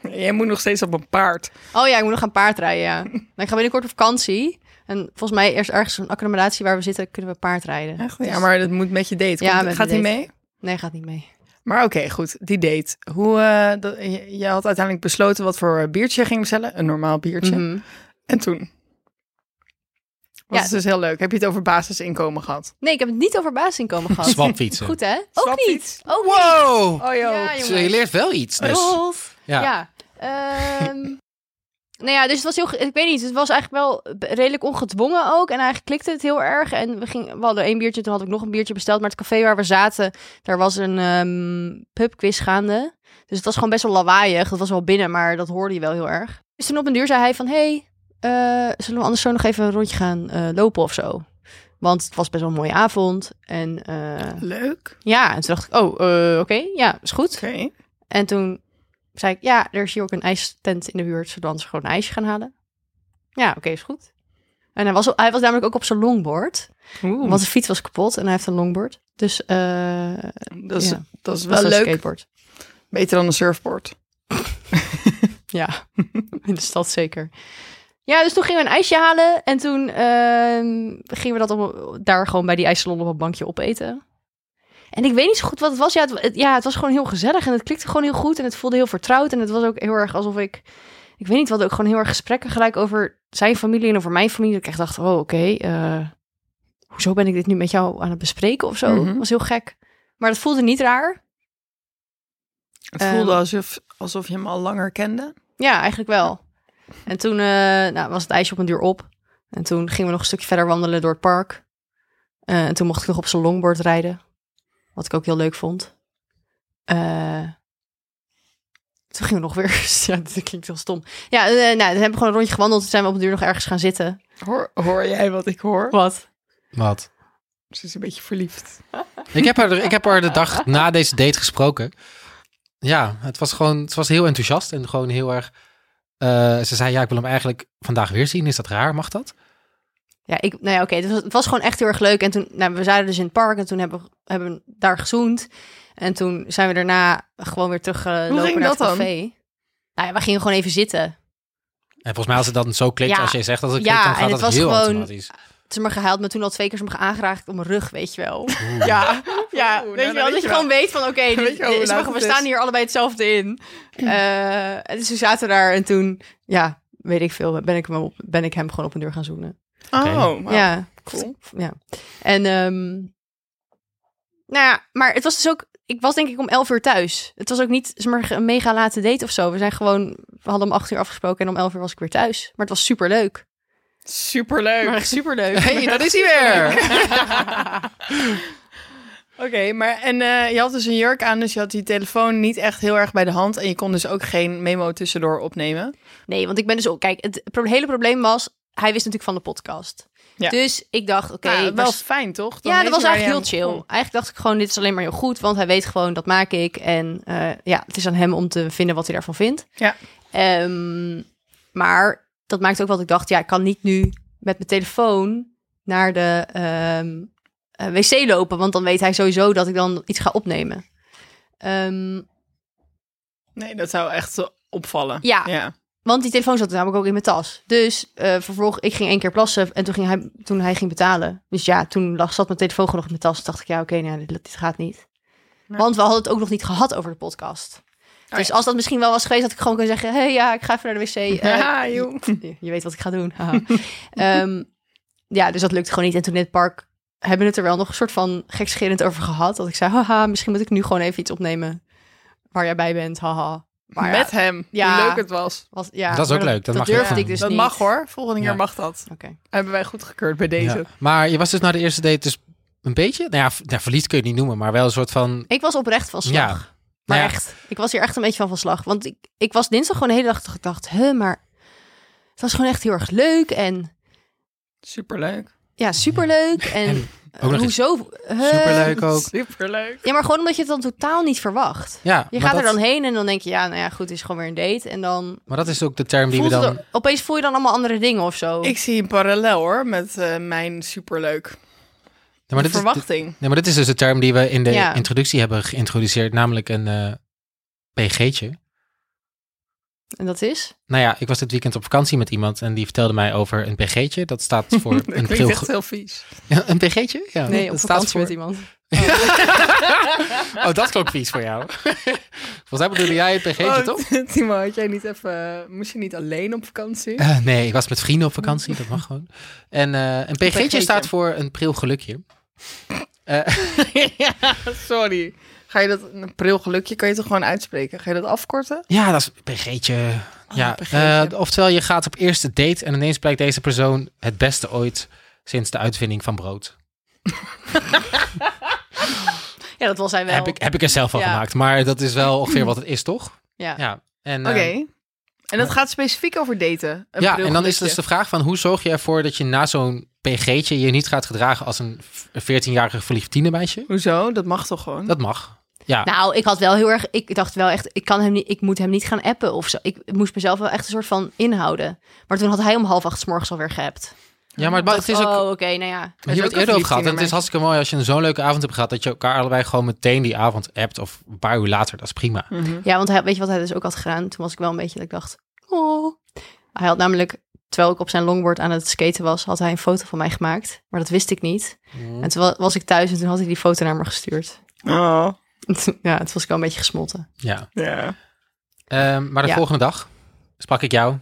Jij moet nog steeds op een paard. oh ja, ik moet nog gaan paardrijden. Ja. Nou, ik ga binnenkort op vakantie. En volgens mij eerst ergens een accommodatie waar we zitten, kunnen we paardrijden. Ja, maar dat moet met je date. Ja, Komt- met gaat de hij date. mee? Nee, gaat niet mee. Maar oké, goed. Die date. Hoe, eh, dat, je, je had uiteindelijk besloten wat voor eh, biertje je ging bestellen. Een normaal biertje. Mhm. En toen? Was Ja. het dus heel leuk. Heb je het over basisinkomen gehad? Nee, ik heb het niet over basisinkomen gehad. Swapfietsen. Goed hè? Ook Swapfiets. niet. Ook niet. Wow! Oh Ja, Dus jongens. je leert wel iets. Dus. Rolf. Ja. Ja. Ehm, nou ja, dus het was heel. ge- Ik weet niet. Het was eigenlijk wel b- redelijk ongedwongen ook. En eigenlijk klikte het heel erg. En we, gingen, we hadden één biertje. Toen had ik nog een biertje besteld. Maar het café waar we zaten, daar was een ehm, pubquiz gaande. Dus het was gewoon best wel lawaaiig. Dat was wel binnen, maar dat hoorde je wel heel erg. Dus toen op een duur zei hij van... hey, eh, zullen we anders zo nog even een rondje gaan eh, lopen of zo? Want het was best wel een mooie avond. En eh, Leuk. ja, en toen dacht ik... Oh, eh, oké. ja, is goed. Oké. En toen zei ik, ja, er is hier ook een ijstent in de buurt, zodat ze gewoon een ijsje gaan halen. Ja, oké, is goed. En hij was, hij was namelijk ook op zijn longboard, Oeh, want zijn fiets was kapot en hij heeft een longboard. Dus eh dat, is, ja. dat was is wel een leuk. skateboard. Beter dan een surfboard. Ja, in de stad zeker. Ja, dus toen gingen we een ijsje halen en toen ehm, gingen we dat om, daar gewoon bij die ijssalon op een bankje opeten. En ik weet niet zo goed wat het was. Ja het, het- ja, het was gewoon heel gezellig en het klikte gewoon heel goed en het voelde heel vertrouwd. En het was ook heel erg alsof ik, ik weet niet, wat ook gewoon heel erg gesprekken gelijk over zijn familie en over mijn familie. Dat ik echt dacht, oh oké, eh, hoezo ben ik dit nu met jou aan het bespreken of zo? Mhm. was heel gek. Maar dat voelde niet raar. Het Ehm. voelde alsof, alsof je hem al langer kende. Ja, eigenlijk wel. En toen eh, nou, was het ijsje op een duur op. En toen gingen we nog een stukje verder wandelen door het park. Eh, en toen mocht ik nog op zijn longboard rijden. Wat ik ook heel leuk vond. Eh, toen gingen we nog weer... ja, dat klinkt heel stom. Ja, eh, nou, dan hebben we gewoon een rondje gewandeld. Toen zijn we op een duur nog ergens gaan zitten. Hoor, hoor jij wat ik hoor? Wat? Wat? Ze is een beetje verliefd. Ik heb, haar, ik heb haar de dag na deze date gesproken. Ja, het was gewoon, ze was heel enthousiast en gewoon heel erg. eh, ze zei: Ja, ik wil hem eigenlijk vandaag weer zien. Is dat raar? Mag dat? Ja, ik, nou ja, oké. het, was, het was gewoon echt heel erg leuk. En toen, nou, we zaten dus in het park en toen hebben we, hebben we daar gezoend. En toen zijn we daarna gewoon weer teruggelopen ging naar het dat dan? café. Nou ja, we gingen gewoon even zitten. En volgens mij, als het dan zo klikt, Ja. als jij zegt dat het Ja, klikt, dan en gaat het dat was heel gewoon- automatisch. Ze maar gehuild, maar toen al twee keer ze me aangeraakt op mijn rug, weet je wel. Oeh. Ja, ja weet Oeh, nou, dan je wel. weet Dat je je wel. gewoon weet van, oké, weet dit- je wel hoe dit- laat we we het is. Mm. staan hier allebei hetzelfde in. Eh, en dus we zaten daar en toen, ja, weet ik veel, ben ik hem, op- ben ik hem gewoon op een deur gaan zoenen. Oh, wauw. ja, cool. Ja. En, ehm, nou ja, maar het was dus ook, ik was denk ik om elf uur thuis. Het was ook niet zeg maar, een mega late date of zo. We zijn gewoon, we hadden om acht uur afgesproken en om elf uur was ik weer thuis. Maar het was superleuk. Superleuk. Maar echt superleuk. hey, dat is hij weer! Oké, maar en eh, je had dus een jurk aan, dus je had die telefoon niet echt heel erg bij de hand. En je kon dus ook geen memo tussendoor opnemen. Nee, want ik ben dus ook. Kijk, het pro- hele probleem was. Hij wist natuurlijk van de podcast. Ja. Dus ik dacht, oké. Nou, wel waarsch- fijn, toch? Dan ja, weet dat was je waar je Oh. eigenlijk heel aan- chill. Eigenlijk dacht ik gewoon, dit is alleen maar heel goed. Want hij weet gewoon, dat maak ik. En eh, ja, het is aan hem om te vinden wat hij daarvan vindt. Ja. Ehm, maar dat maakt ook wat ik dacht. Ja, ik kan niet nu met mijn telefoon naar de ehm, eh, wc lopen. Want dan weet hij sowieso dat ik dan iets ga opnemen. Ehm, Nee, dat zou echt eh, opvallen. Ja. ja. Want die telefoon zat namelijk ook in mijn tas. Dus eh vervolgens, ik ging één keer plassen en toen, ging hij, toen hij ging betalen. Dus ja, toen lag, zat mijn telefoon gewoon nog in mijn tas. Toen dacht ik, ja, oké, nou, dit, dit gaat niet. Want we hadden het ook nog niet gehad over de podcast. Oh dus als dat misschien wel was geweest, had ik gewoon kunnen zeggen... hey, ja, ik ga even naar de wc. eh, Ja, joh. je, je weet wat ik ga doen. haha. Ehm, ja, dus dat lukte gewoon niet. En toen in het park hebben we het er wel nog een soort van gekscherend over gehad. Dat ik zei, haha, misschien moet ik nu gewoon even iets opnemen waar jij bij bent, haha. Maar ja, Met hem. Ja. Hoe leuk het was. was, ja, Dat is ook maar leuk, dat mag je durfde ook ik doen. dus dat niet. mag hoor. Volgende keer Ja. mag dat. Oké. Hebben wij goedgekeurd bij deze. Ja. Maar je was dus na de eerste date dus een beetje... Nou ja, v- nou, verliefd kun je het niet noemen, maar wel een soort van... Ik was oprecht van slag. Ja. Maar Nou ja, echt, ik was hier echt een beetje van van slag. Want ik, ik was dinsdag gewoon de hele dag dat ik dacht, huh, maar het was gewoon echt heel erg leuk en Superleuk. ja, superleuk. En, En ook nog eens hoezo? huh? superleuk ook. Superleuk. Ja, maar gewoon omdat je het dan totaal niet verwacht. Ja, Je maar gaat er dat- dan heen en dan denk je, ja, nou ja, goed, het is gewoon weer een date. En dan, Maar dat is ook de term die we voelt het dan... er- opeens voel je dan allemaal andere dingen of Oh. zo. Ik zie een parallel hoor met eh, mijn superleuk. Ja, maar De dit is- dit- verwachting. Nee, maar dit is dus de term die we in de Ja. introductie hebben geïntroduceerd, namelijk een eh, PG'tje. En dat is? Nou ja, ik was dit weekend op vakantie met iemand en die vertelde mij over een PG'tje. Dat staat voor Dat een klinkt geel... echt heel vies. Ja, een PG'tje? Ja, Nee, dat op staat vakantie voor... met iemand. Oh, dat klonk vies voor jou. Volgens mij bedoelde jij een PG'tje, Oh, toch? Timo, had jij niet even... eh, Moest je niet alleen op vakantie? Eh, nee, ik was met vrienden op vakantie, dat mag gewoon. En eh, een PG'tje, PG'tje. staat voor een pril gelukje. Sorry. Ga je dat... Een pril gelukje kan je toch gewoon uitspreken? Ga je dat afkorten? Ja, dat is een PG'tje. ja, PG'tje. eh, oftewel je gaat op eerste date en ineens blijkt deze persoon het beste ooit sinds de uitvinding van brood. Ja, dat was hij wel. Heb ik, heb ik er zelf van Ja. gemaakt, maar dat is wel ongeveer wat het is, toch? Ja. Ja, en, Oké. eh, En dat gaat specifiek over daten. Een ja, pril en dan is gelukje. dus de vraag van hoe zorg je ervoor dat je na zo'n PG'tje je niet gaat gedragen als een v- 14-jarige verliefd tienermeisje? Hoezo? Dat mag toch gewoon? Dat mag. Ja, Nou, ik had wel heel erg, ik dacht wel echt, ik, kan hem niet, ik moet hem niet gaan appen of zo. Ik moest mezelf wel echt een soort van inhouden. Maar toen had hij om half acht 's morgens alweer geappt. ja maar, maar Dacht, het is ook... Oh, oké, nou ja. Maar hier hebben Het is we het ook eerder over een gehad. En het is verliefd hartstikke mooi als je een zo'n leuke avond hebt gehad... dat je elkaar allebei gewoon meteen die avond appt... of een paar uur later, dat is prima. Mhm. Ja, want hij, weet je wat hij dus ook had gedaan? Toen was ik wel een beetje dat ik dacht, oh. Hij had namelijk, terwijl ik op zijn longboard aan het skaten was, had hij een foto van mij gemaakt. Maar dat wist ik niet. Mm. En toen wa- was ik thuis en toen had hij die foto naar me gestuurd. Oh, ja, het was ik wel een beetje gesmolten. Ja. ja. Ehm, maar de Ja. volgende dag sprak ik jou.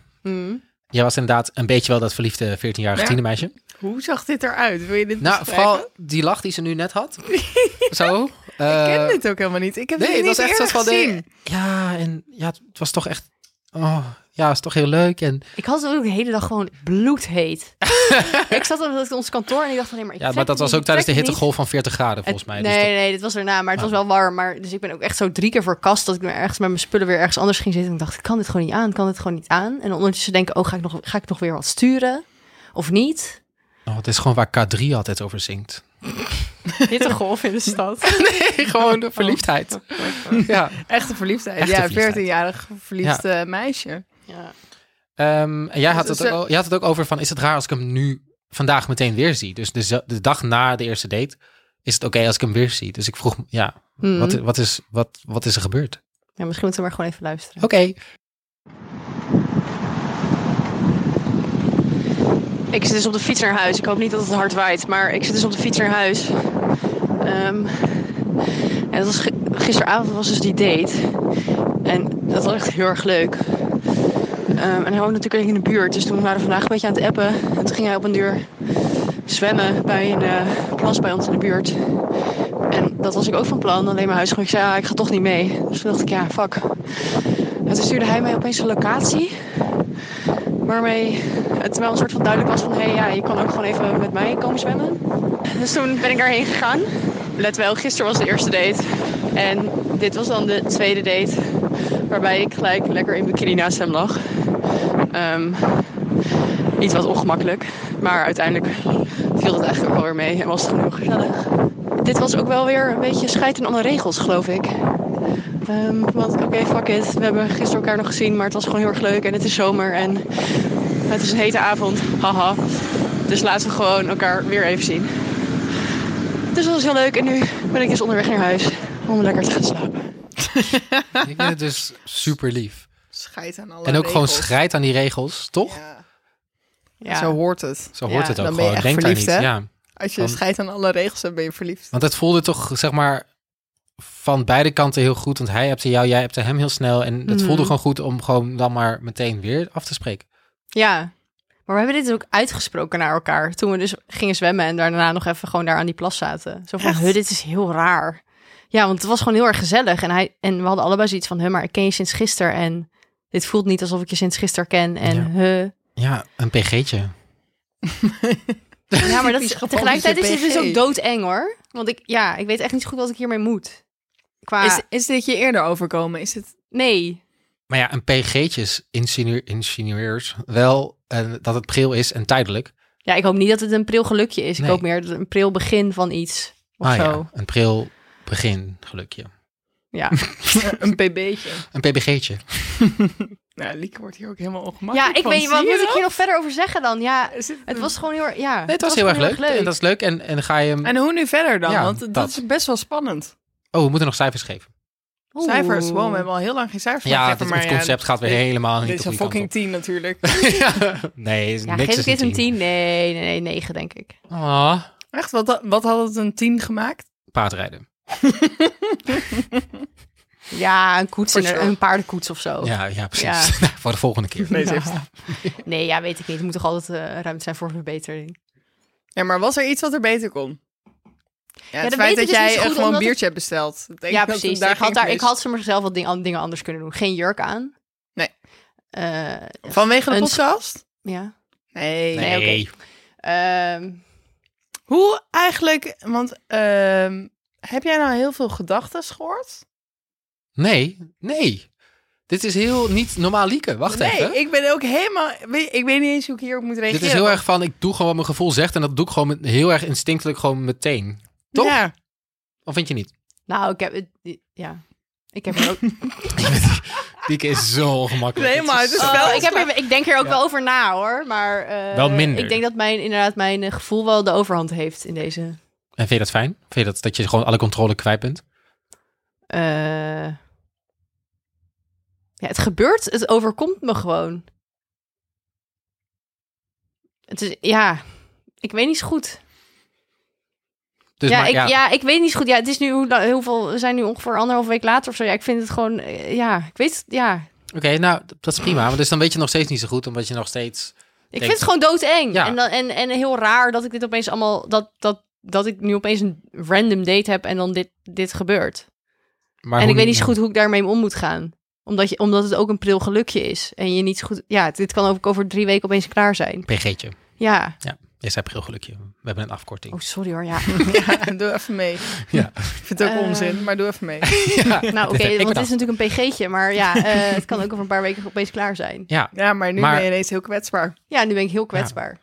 Jij was inderdaad een beetje wel dat verliefde 14-jarige Mm. Ja. tienermeisje. Hoe zag dit eruit? Wil je dit Nou, beschrijven? vooral die lach die ze nu net had. Zo. Ik ken eh, dit ook helemaal niet. Ik heb Nee, dit het niet was echt eerder soort van... de- gezien. ja, en ja, het was toch echt... Oh, ja, het is toch heel leuk. En Ik had het ook de hele dag gewoon bloedheet. ik zat op op ons kantoor en ik dacht van nee, maar ik ja, trek maar dat het was niet, ook tijdens de ik trek het niet. hittegolf van 40 graden, volgens mij. Het- Dus nee, dat- nee, dit was erna, maar het was Ah. wel warm. Maar, dus ik ben ook echt zo drie keer verkast dat ik me ergens met mijn spullen weer ergens anders ging zitten. En ik dacht, ik kan dit gewoon niet aan, kan dit gewoon niet aan. En ondertussen denken, oh, ga ik nog, ga ik nog weer wat sturen? Of niet? Oh, het is gewoon waar K3 altijd over zingt. Hittegolf in de stad. Nee, gewoon Oh. de verliefdheid. Ja. Echte verliefdheid. Echte ja, verliefdheid. 14-jarig verliefd eh, meisje. Ja. Ehm, en jij had, Dus het ook, ze- al- je had het ook over van, is het raar als ik hem nu vandaag meteen weer zie? Dus de, z- de dag na de eerste date, is het oké als ik hem weer zie? Dus ik vroeg, me, ja, Hmm. wat, wat, is, wat, wat is er gebeurd? Ja, misschien moeten we maar gewoon even luisteren. Oké. Ik zit dus op de fiets naar huis. Ik hoop niet dat het hard waait, maar ik zit dus op de fiets naar huis. Ehm, en dat was gi- gisteravond was dus die date. En dat was echt heel erg leuk. Ehm, en hij woont natuurlijk in de buurt, dus toen waren we vandaag een beetje aan het appen. En toen ging hij op een duur zwemmen bij een eh, plas bij ons in de buurt. En dat was ik ook van plan, alleen mijn huis. Ik zei, ah, ik ga toch niet mee. Dus toen dacht ik, ja, fuck. En toen stuurde hij mij opeens een locatie waarmee het wel een soort van duidelijk was van... hé, hey, ja, je kan ook gewoon even met mij komen zwemmen. Dus toen ben ik daarheen gegaan. Let wel, gisteren was de eerste date. En dit was dan de tweede date... waarbij ik gelijk lekker in bikini naast hem lag. Ehm, iets wat ongemakkelijk. Maar uiteindelijk viel dat eigenlijk ook wel weer mee en was het gewoon heel gezellig. Dit was ook wel weer een beetje scheiden aan de regels, geloof ik. Ehm, want oké, fuck it. We hebben gisteren elkaar nog gezien, maar het was gewoon heel erg leuk. En het is zomer en het is een hete avond. Haha. Dus laten we gewoon elkaar weer even zien. Dus dat was heel leuk. En nu ben ik dus onderweg naar huis om lekker te gaan slapen. Ik vind het dus super lief. Scheid aan alle En ook gewoon regels. schrijt aan die regels, toch? Ja. Zo hoort het. Zo hoort Ja, het ook dan ben je gewoon. echt Denk daar verliefd, niet. hè? Ja. Als je Van- scheidt aan alle regels, dan ben je verliefd. Want het voelde toch, zeg maar, van beide kanten heel goed. Want hij hebt jou, jij hebt hem heel snel. En het Mhm. Hmm. voelde gewoon goed om gewoon dan maar meteen weer af te spreken. Ja. Maar we hebben dit ook uitgesproken naar elkaar. Toen we dus gingen zwemmen en daarna nog even gewoon daar aan die plas zaten. Zo van, Echt? "Huh, dit is heel raar. Ja, want het was gewoon heel erg gezellig. En, hij, en we hadden allebei zoiets van, huh, maar ik ken je sinds gisteren. En dit voelt niet alsof ik je sinds gisteren ken. En Ja. huh, Ja, een pg'tje. Ja, maar dat is, Typisch Japanse tegelijkertijd is dit dus PG. ook doodeng hoor. Want ik, ja, ik weet echt niet zo goed wat ik hiermee moet. Qua, Is, is dit je eerder overkomen? Is het... nee. Maar ja, een pg'tje is insinu- insinueert wel eh, dat het pril is en tijdelijk. Ja, ik hoop niet dat het een pril gelukje is. Nee. Ik hoop meer dat het een pril begin van iets. Of Ah zo. ja, een pril begin gelukje. Ja. eh, een pb'tje. Een pbg'tje. Nou, Lieke wordt hier ook helemaal Ja, ongemakkelijk ik van. weet niet, wat Zie je moet ik dat? hier nog verder over zeggen dan? Ja, Is dit- het was gewoon heel erg, ja. Nee, het was, heel erg gewoon leuk. En dat is leuk. En, en ga je hem... En hoe nu verder dan? Ja, Want dat, dat. is best wel spannend. Oh, we moeten nog cijfers geven. Oeh. Cijfers, wow, we hebben al heel lang geen cijfers ja, gegeven, dit- maar het concept gaat weer dit- helemaal Dit niet op is een die kant fucking op. tien natuurlijk. Ja. Nee, is Ja, niks geef is ik dit een tien. 10? Nee, nee, nee, 9 denk ik. Ah, Echt, wat, wat had het een tien gemaakt? paardrijden. Ja, een koets, Voor en zo. een paardenkoets of zo. Ja, ja precies. Oh. Nou, Ja. Voor de volgende keer. Nee, ze Ja. heeft- Nee, ja, weet ik niet. Er moet toch altijd eh, ruimte zijn voor verbetering. Ja, maar was er iets wat er beter kon? Ja, het dat feit weet ik dat dus niet zo jij eh, goed, gewoon een omdat biertje hebt besteld. Ik denk ja, dat het precies. daar ik, had ging daar, ik mis. had ze mezelf wat dingen, dingen anders kunnen doen. Geen jurk aan. Nee. Eh, Vanwege de een- podcast? ja. Nee. Nee. Ehm, Hoe eigenlijk, want ehm, heb jij nou heel veel gedachten gehoord? Nee, nee. Dit is heel niet normaal Lieke. Wacht nee, even. ik ben ook helemaal, weet- ik weet niet eens hoe ik hierop moet reageren. Dit is heel erg van, ik doe gewoon wat mijn gevoel zegt. En dat doe ik gewoon met- heel erg instinctelijk gewoon meteen. toch? Ja. Of vind je niet? nou, ik heb het. Ja. Ik heb er ook. Lieke is zo ongemakkelijk. Nee, maar het is zo- wel- Oh, ik, heb er, ik denk er ook wel over na hoor. Maar. eh, Wel minder. Ik denk dat mijn, inderdaad, mijn eh, gevoel wel de overhand heeft in deze. En vind je dat fijn? Vind je dat, dat je gewoon alle controle kwijt bent? eh, Ja, het gebeurt. Het overkomt me gewoon. Het is. Ja. Ik weet niet zo goed. Dus ja, maar, ik, ja, ja. ik weet niet zo goed. Ja, het is nu hoe, la- hoeveel, we zijn nu ongeveer anderhalf week later of zo. Ja, ik vind het gewoon, eh, ja, ik weet het, ja. Oké, nou, d- dat is prima. Maar dus dan weet je nog steeds niet zo goed, omdat je nog steeds... Ik Denk- vind het gewoon doodeng. Ja. En, dan, en, en heel raar dat ik dit opeens allemaal, dat, dat, dat ik nu opeens een random date heb en dan dit, dit gebeurt. Maar en hoe- ik weet niet zo goed hoe ik daarmee om moet gaan. Omdat, je, omdat het ook een pril gelukje is. En je niet zo goed, ja, dit kan ook over drie weken opeens klaar zijn. PG'tje. Ja. Je zei heel gelukje. We hebben een afkorting. Oh, sorry hoor, ja. ja, doe even mee. Ja. Ik vind het ook Eh, onzin, maar doe even mee. Nou oké, heb ik want het bedacht. is natuurlijk een pg'tje, maar ja, eh, het kan ook over een paar weken opeens klaar zijn. Ja, Ja, maar nu Maar- ben je ineens heel kwetsbaar. Ja, nu ben ik heel kwetsbaar.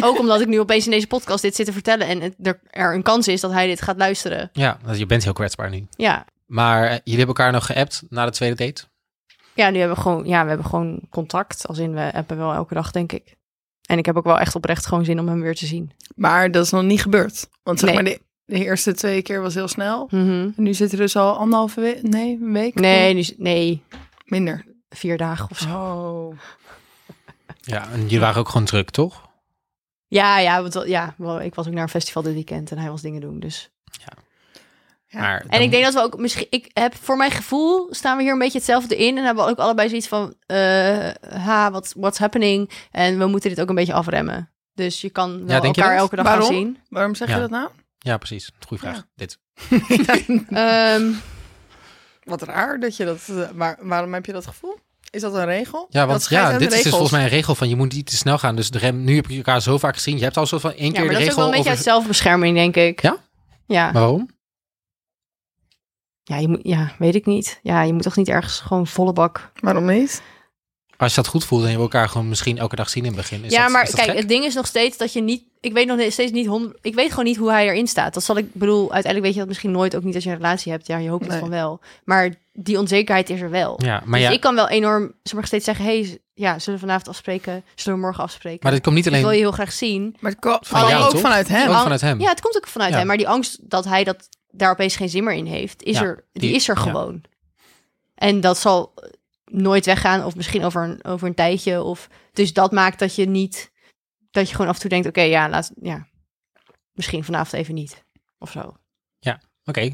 Ook omdat ik nu opeens in deze podcast dit zit te vertellen en het- er, er een kans is dat hij dit gaat luisteren. ja, want je bent heel kwetsbaar nu. Ja, Maar eh, jullie hebben elkaar nog geappt na de tweede date? ja nu hebben we gewoon, ja, we hebben gewoon contact. Als in, we hebben wel elke dag, denk ik. En ik heb ook wel echt oprecht gewoon zin om hem weer te zien. Maar dat is nog niet gebeurd. Want zeg Nee. maar, de, de eerste twee keer was heel snel. Mhm. En nu zit er dus al anderhalve week, nee, een week? Nee, nu, nee, Minder. vier dagen of zo. Oh. Ja, en jullie waren ook gewoon druk, toch? Ja, ja, want, wel- ja wel, ik was ook naar een festival dit weekend en hij was dingen doen, dus... Ja. Maar En dan- ik denk dat we ook misschien. Ik heb voor mijn gevoel staan we hier een beetje hetzelfde in. En hebben we ook allebei zoiets van. eh, ha, wat what's happening? En we moeten dit ook een beetje afremmen. Dus je kan wel Ja, denk je elkaar dat? elke dag Waarom? gaan zien. Waarom zeg Ja. je dat nou? Ja, precies. Goeie vraag. Dit. Ehm, Wat raar dat je dat... eh, waar- waarom heb je dat gevoel? Is dat een regel? Ja, Dat want scheidt ja, aan dit de is dus regels. volgens mij een regel van je moet niet te snel gaan. Dus de rem, nu heb je elkaar zo vaak gezien. Je hebt al zo van één ja, keer maar de dat is ook regel wel een beetje over... uit zelfbescherming, denk ik. Ja? Ja. Maar waarom? Ja, je moet, ja, weet ik niet. Ja, je moet toch niet ergens gewoon volle bak. Waarom niet? Als je dat goed voelt en je wil elkaar gewoon misschien elke dag zien in het begin. Is ja, dat, maar is dat kijk, gek? het ding is nog steeds dat je niet. Ik weet nog steeds niet. honderd- Ik weet gewoon niet hoe hij erin staat. Dat zal ik bedoel. Uiteindelijk weet je dat misschien nooit ook niet als je een relatie hebt. Ja, je hoopt Nee. het van wel. Maar die onzekerheid is er wel. Ja, maar, dus ja, ik kan wel enorm zeg maar, steeds zeggen: hey, z- ja, zullen we vanavond afspreken? Zullen we morgen afspreken? maar dit komt niet Ik wil je alleen heel graag zien. Maar het kwam Van kwam jou, ook toch? vanuit hem. ook vanuit hem. Ja, het komt ook vanuit Ja. hem. Maar die angst dat hij dat daar opeens geen zin meer in heeft, is Ja, er, die, die- is er ja. gewoon. En dat zal nooit weggaan, of misschien over een, over een tijdje. Of, dus dat maakt dat je niet, dat je gewoon af en toe denkt: oké, ja, laat, ja, misschien vanavond even niet. Of zo. Oké,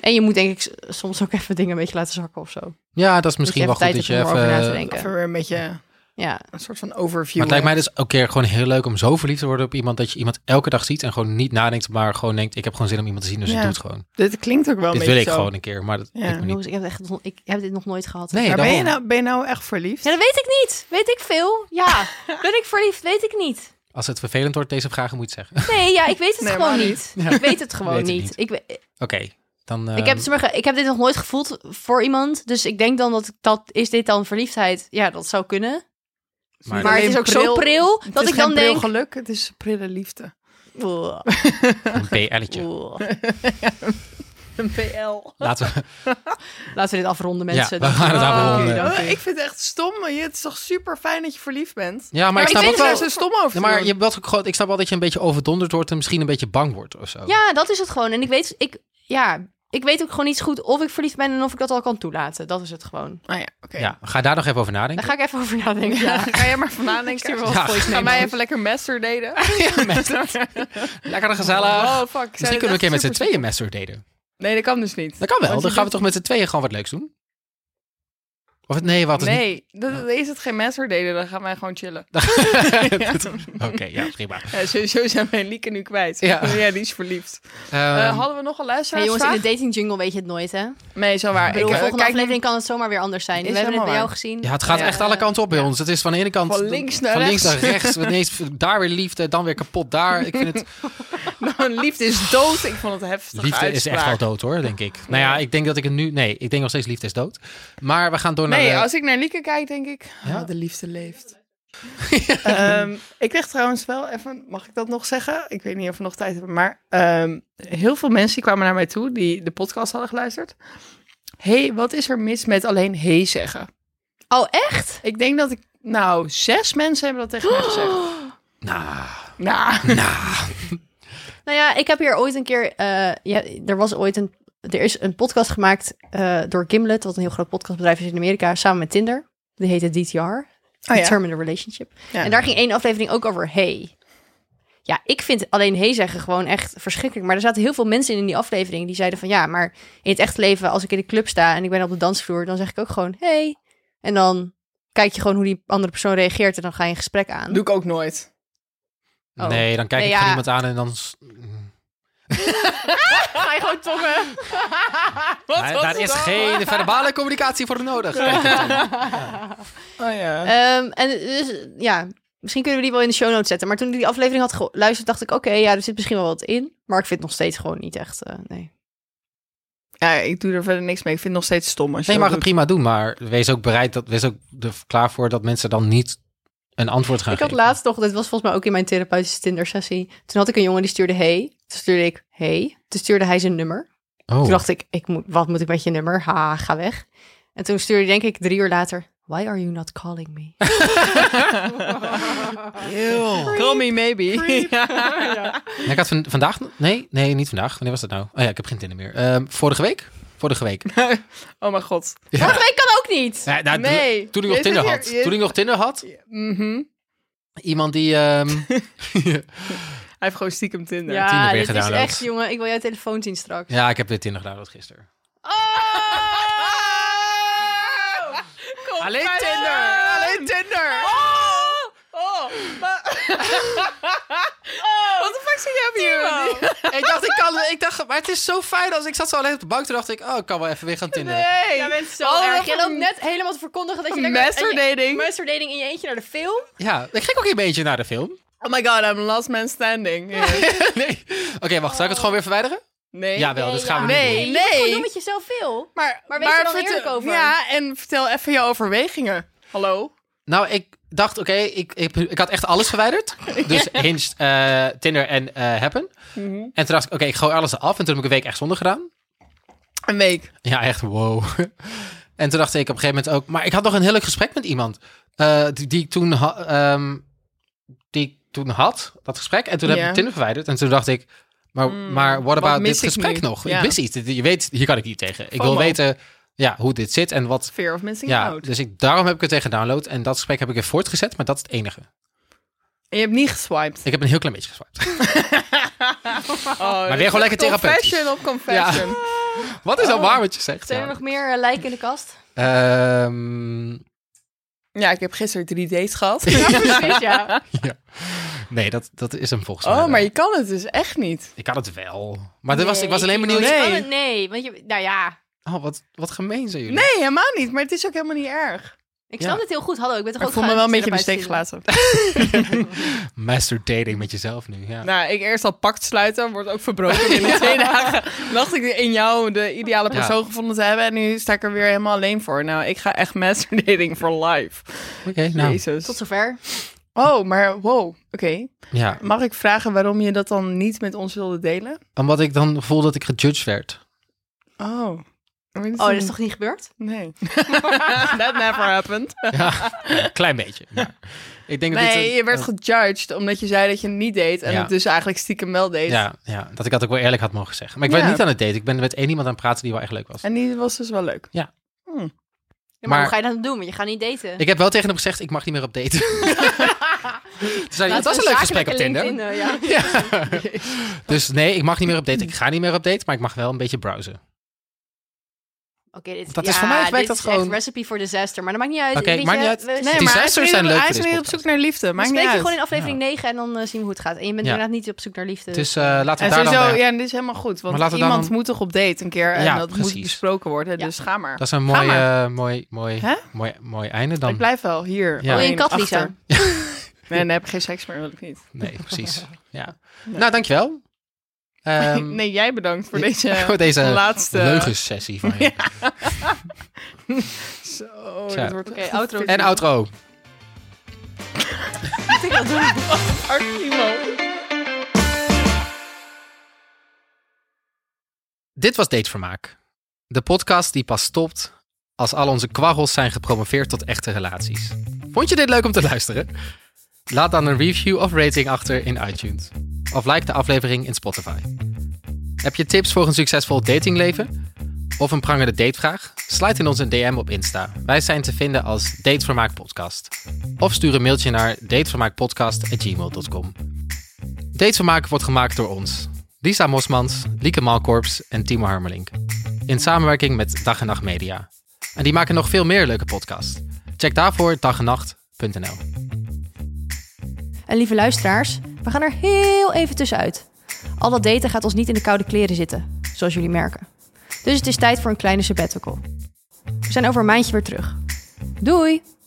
En je moet denk ik s- soms ook even dingen een beetje laten zakken of zo. Ja, dat is misschien wel even tijd goed dat je hebt om even... erover na te Maar denken. Even weer een beetje Ja, een soort van overview. het lijkt mij dus ook keer gewoon heel leuk om zo verliefd te worden op iemand... dat je iemand elke dag ziet en gewoon niet nadenkt... maar gewoon denkt, ik heb gewoon zin om iemand te zien, dus ik Ja. doe het gewoon. Dit klinkt ook wel Dit een wil beetje ik zo. gewoon een keer, maar dat Ja. lukt me niet. jongens, ik heb, echt, nog- ik heb dit nog nooit gehad. Nee, Maar ben, je daarom. nou, ben je nou echt verliefd? Ja, dat weet ik niet. Weet ik veel? Ja. ben ik verliefd? Weet ik niet. Als het vervelend wordt, deze vragen moet je het zeggen. Nee, ja, ik weet het Nee, gewoon maar niet. Ik weet het gewoon Weet het niet. niet. Ehm. Ik, we- Oké, dan... eh, ik, heb, zeg maar, ik heb dit nog nooit gevoeld voor iemand. Dus ik denk dan dat, ik- dat is dit dan verliefdheid? Ja, dat zou kunnen. Maar- Maar het is ook zo pril Het dat is ik dan geen pril denk... geluk, het is prille liefde. Oeh, een PL'tje. oeh. Een PL. Laten we... Laten we dit afronden, Ja, mensen. we gaan het Dank u, afronden. dank u. ik vind het echt stom. maar je- Het is toch super fijn dat je verliefd bent? Ja, maar, ik ik snap vind ook het Daar wel... wel- zo stom over. Ja, te maar doen. je hebt wel ook gewoon- ik snap wel dat je een beetje overdonderd wordt en misschien een beetje bang wordt of zo. Ja, dat is het gewoon. En ik weet, ik, ja, ik weet ook gewoon niet zo goed of ik verliefd ben en of ik dat al kan toelaten. Dat is het gewoon. Ah ja, oké. Ja, ga daar nog even over Daar nadenken. ga ik even over nadenken. Ja, Ja. ga jij maar vandaan denken. wel wat Ja. voice Ga mij even lekker master daten. Lekker gezellig. Oh, fuck. Zij Misschien dit kunnen we een echt keer met z'n super- tweeën master daten. Nee, dat kan dus niet. Dat kan wel. Want je Dan gaan we doet- toch met z'n tweeën gewoon wat leuks doen? Of het, nee, wat is niet... Nee, dat dat is het geen master daten. Dan gaan wij gewoon chillen. Oké, ja, prima. Ja, sowieso zijn wij Lieke nu kwijt. Ja. Ja, die is verliefd. Eh, Ehm, hadden we nog een Hey, jongens, in luisteraarsvraag? de dating jungle weet je het nooit, hè? Nee, zo waar. Ik bedoel, eh, volgende kijk nu aflevering kan het zomaar weer anders zijn. Is We hebben het bij helemaal jou waar. gezien. ja, het gaat Ja. echt alle kanten op bij ons. Het is van de ene kant... Van links naar van rechts. links naar rechts. Ineens daar weer liefde, dan weer kapot daar. Ik vind het... Nou, liefde is dood. Ik vond het een heftige Liefde is uitspraak. echt wel dood hoor, denk ik. Nou ja, ik denk dat ik het nu... Nee, ik denk nog steeds liefde is dood. Maar we gaan door naar... Nee, de- als ik naar Lieke kijk, denk ik... Ja. ah, de liefde leeft. Ehm, ik kreeg trouwens wel even... Mag ik dat nog zeggen? Ik weet niet of we nog tijd hebben. Maar ehm, heel veel mensen die kwamen naar mij toe... die de podcast hadden geluisterd. hey, wat is er mis met alleen hey zeggen? Oh, echt? Ik denk dat ik... Nou, zes mensen hebben dat tegen mij gezegd. Nou, Nou, Nou ja, ik heb hier ooit een keer... eh, ja, er was ooit een... Er is een podcast gemaakt eh, door Gimlet, wat een heel groot podcastbedrijf is in Amerika, samen met Tinder. Die heette DTR, Determine a Relationship. Ja. En daar ging één aflevering ook over hey. Ja, ik vind alleen hey zeggen gewoon echt verschrikkelijk. Maar er zaten heel veel mensen in in die aflevering die zeiden van... Ja, maar in het echte leven, als ik in de club sta en ik ben op de dansvloer... dan zeg ik ook gewoon hey. En dan kijk je gewoon hoe die andere persoon reageert en dan ga je een gesprek aan. doe ik ook nooit. Oh. Nee, dan kijk Nee, ik van ja. iemand aan en dan... s- Ga je gewoon tongen. Nee, daar is geen verbale communicatie voor nodig. Oh ja. Ehm, en dus, ja, misschien kunnen we die wel in de show notes zetten. Maar toen ik die aflevering had geluisterd, dacht ik... Oké, ja, er zit misschien wel wat in. Maar ik vind het nog steeds gewoon niet echt... eh, nee. Ja, ik doe er verder niks mee. Ik vind het nog steeds stom. Als je Nee, je dat mag het doet. prima doen, maar wees ook bereid, dat, wees ook er klaar voor dat mensen dan niet een antwoord gaan Ik had geven. laatst nog, dit was volgens mij ook in mijn therapeutische Tinder-sessie. Toen had ik een jongen die stuurde hey. Toen stuurde ik hey. Toen stuurde hij zijn nummer. Oh. Toen dacht ik, ik moet, wat moet ik met je nummer? Ha, ga weg. En toen stuurde hij denk ik drie uur later... Why are you not calling me? Call me maybe. Ja, ik had van- vandaag... Nee, nee, niet vandaag. Wanneer was dat nou? Oh ja, ik heb geen Tinder meer. Ehm, vorige week? Vorige week. oh mijn god. Vorige week kan ook niet. Ja, nou, toen- Nee, Toen, ik nog je zit Tinder hier- had. je- Toen ik nog Tinder had. Mhm. Iemand die... ehm, Hij heeft gewoon stiekem Tinder. Tinder Ja, weer dit is gedownload. echt, jongen. Ik wil jouw telefoon zien straks. ja, ik heb dit Tinder gedaan gisteren. Alleen bij Tinder. mij. Alleen Tinder. Oh! Oh! maar- oh! Wat de fuck zit jij hier? ik dacht, ik kan... Ik dacht, maar het is zo fijn als ik zat zo alleen op de bank. Toen dacht ik, oh, ik kan wel even weer gaan Tinder. Nee! Jij bent zo Allemaal erg. Je van- loopt net helemaal te verkondigen dat je lekker... Masturdating. Masturdating in je eentje naar de film. Ja, ik ging ook een beetje naar de film. Oh my god, I'm last man standing. nee. Oké, wacht. Zal ik het gewoon weer verwijderen? Nee. Jawel, dat dus gaan we ja. niet Je doen. Nee, moet gewoon nee. doen met jezelf veel. Maar, Maar wees er dan vertel- eerlijk over. Ja, en vertel even je overwegingen. Hallo? Nou, ik dacht, oké, ik, ik, ik had echt alles verwijderd. Dus Hinge, eh, Tinder en eh Happen. Mhm. En toen dacht ik, oké, ik gooi alles eraf. En toen heb ik een week echt zonder gedaan. Een week. Ja, echt wow. En toen dacht ik op een gegeven moment ook... Maar ik had nog een heel leuk gesprek met iemand. eh, die, die, ik toen ha- ehm, die ik toen had, dat gesprek. En toen heb Ja. Mm, ik Tinder verwijderd. En toen dacht ik... Maar, maar what wat about dit mis ik gesprek nu? nog? Ik Ja. wist iets. Je weet, hier kan ik niet tegen. Ik wil FOMO. weten ja, hoe dit zit en wat... Fear of missing Ja, out. dus ik, daarom heb ik het tegen download. En dat gesprek heb ik weer voortgezet, maar dat is het enige. En je hebt niet geswiped. Ik heb een heel klein beetje geswiped. Oh, weer gewoon lekker confession therapeutisch. op confession. Wat is Oh. dan waar wat je zegt? Zijn er nog meer eh, lijken in de kast? ja? Ehm, Ja, ik heb gisteren drie dates gehad. Precies, ja. nee, dat, dat is hem volgens mij. Oh, maar wel. je kan het dus echt niet. Ik had het wel. Maar dat was, ik was Nee, alleen benieuwd. je kan Nee. oh, het- Nee, want je, nou ja, Oh, wat, wat gemeen zijn jullie. Nee, helemaal niet. Maar het is ook helemaal niet erg. ik Ja. snap het heel goed. Hallo, ik ben toch Maar ik ook voel me wel een beetje in de steek therapeut gelaten. Master dating met jezelf nu. Ja. Nou, ik eerst al pact sluiten, wordt ook verbroken binnen twee dagen. Dacht ik in jou de ideale persoon gevonden te hebben en nu sta ik er weer helemaal alleen voor. Nou, ik ga echt master dating for life. Oké, nou. Jezus. Tot zover. Oh, maar wow. Oké. Ja, Mag ik vragen waarom je dat dan niet met ons wilde delen? omdat ik dan voelde dat ik gejudged werd. Oh. Oh, dat is toch niet gebeurd? Nee. That never happened. Ja, een klein beetje. maar ik denk dat dit Nee, een- je werd een- gejudged omdat je zei dat je het niet deed en Ja. het dus eigenlijk stiekem wel deed. ja, ja, dat ik dat ook wel eerlijk had mogen zeggen. Maar ik Ja. ben niet aan het daten. Ik ben met één iemand aan het praten die wel echt leuk was. En die was dus wel leuk. Ja. Hm. Ja, maar, Maar- hoe ga je dat doen? Want je gaat niet daten. Ik heb wel tegen hem gezegd, ik mag niet meer op daten. Toen zei Nou, hij, Laten het was we een leuk gesprek zakelijke op Tinder. link vinden, eh, ja. Ja. Dus nee, ik mag niet meer op date. Ik ga niet meer op date, maar ik mag wel een beetje browsen. Eh, Oké, dit, Dat is ja, voor mij werkt dit dat is gewoon- echt recipe for disaster. Maar dat maakt niet uit. Oké, Weet maakt je, niet uit. We, Nee, Die hij zesters is zijn nu- leuk Hij voor is deze nu op podcast. zoek naar liefde. we Maakt niet spreken je uit. gewoon in aflevering 9 en dan eh, zien we hoe het gaat. En je bent Ja. inderdaad niet op zoek naar liefde. Dus eh, laten En we daar sowieso, dan bij- ja, en dit is helemaal goed. Want Maar laten we iemand dan- moet toch op date een keer en Ja, dat moet precies. besproken worden. Ja. Dus ga maar. Dat is een Ga mooi, maar. eh, mooi, mooi, Hè? mooi, mooi einde dan. Ik blijf wel Ja. hier. Wil je een alleen kat, achter. Lisa? Nee, dan heb ik geen seks meer, wil ik niet. Nee, precies. Ja. Nou, dankjewel. Ehm nee, jij bedankt voor ja, deze, voor deze laatste... leugenssessie van je. Zo, Zo. dat Oh, wordt Oké, outro. En outro. Archivo. Dit was Datevermaak. De podcast die pas stopt als al onze kwarrels zijn gepromoveerd tot echte relaties. Vond je dit leuk om te luisteren? Laat dan een review of rating achter in iTunes. Of like de aflevering in Spotify. Heb je tips voor een succesvol datingleven? Of een prangende datevraag? Sluit in ons een DM op Insta. Wij zijn te vinden als Datevermaak Podcast. Of stuur een mailtje naar datevermaakpodcast.gmail.com. Datevermaak wordt gemaakt door ons. Lisa Mosmans, Lieke Malkorps en Timo Harmelink. In samenwerking met Dag en Nacht Media. En die maken nog veel meer leuke podcasts. Check daarvoor dagennacht.nl. En lieve luisteraars, we gaan er heel even tussenuit. Al dat daten gaat ons niet in de koude kleren zitten, zoals jullie merken. Dus het is tijd voor een kleine sabbatical. We zijn over een maandje weer terug. Doei!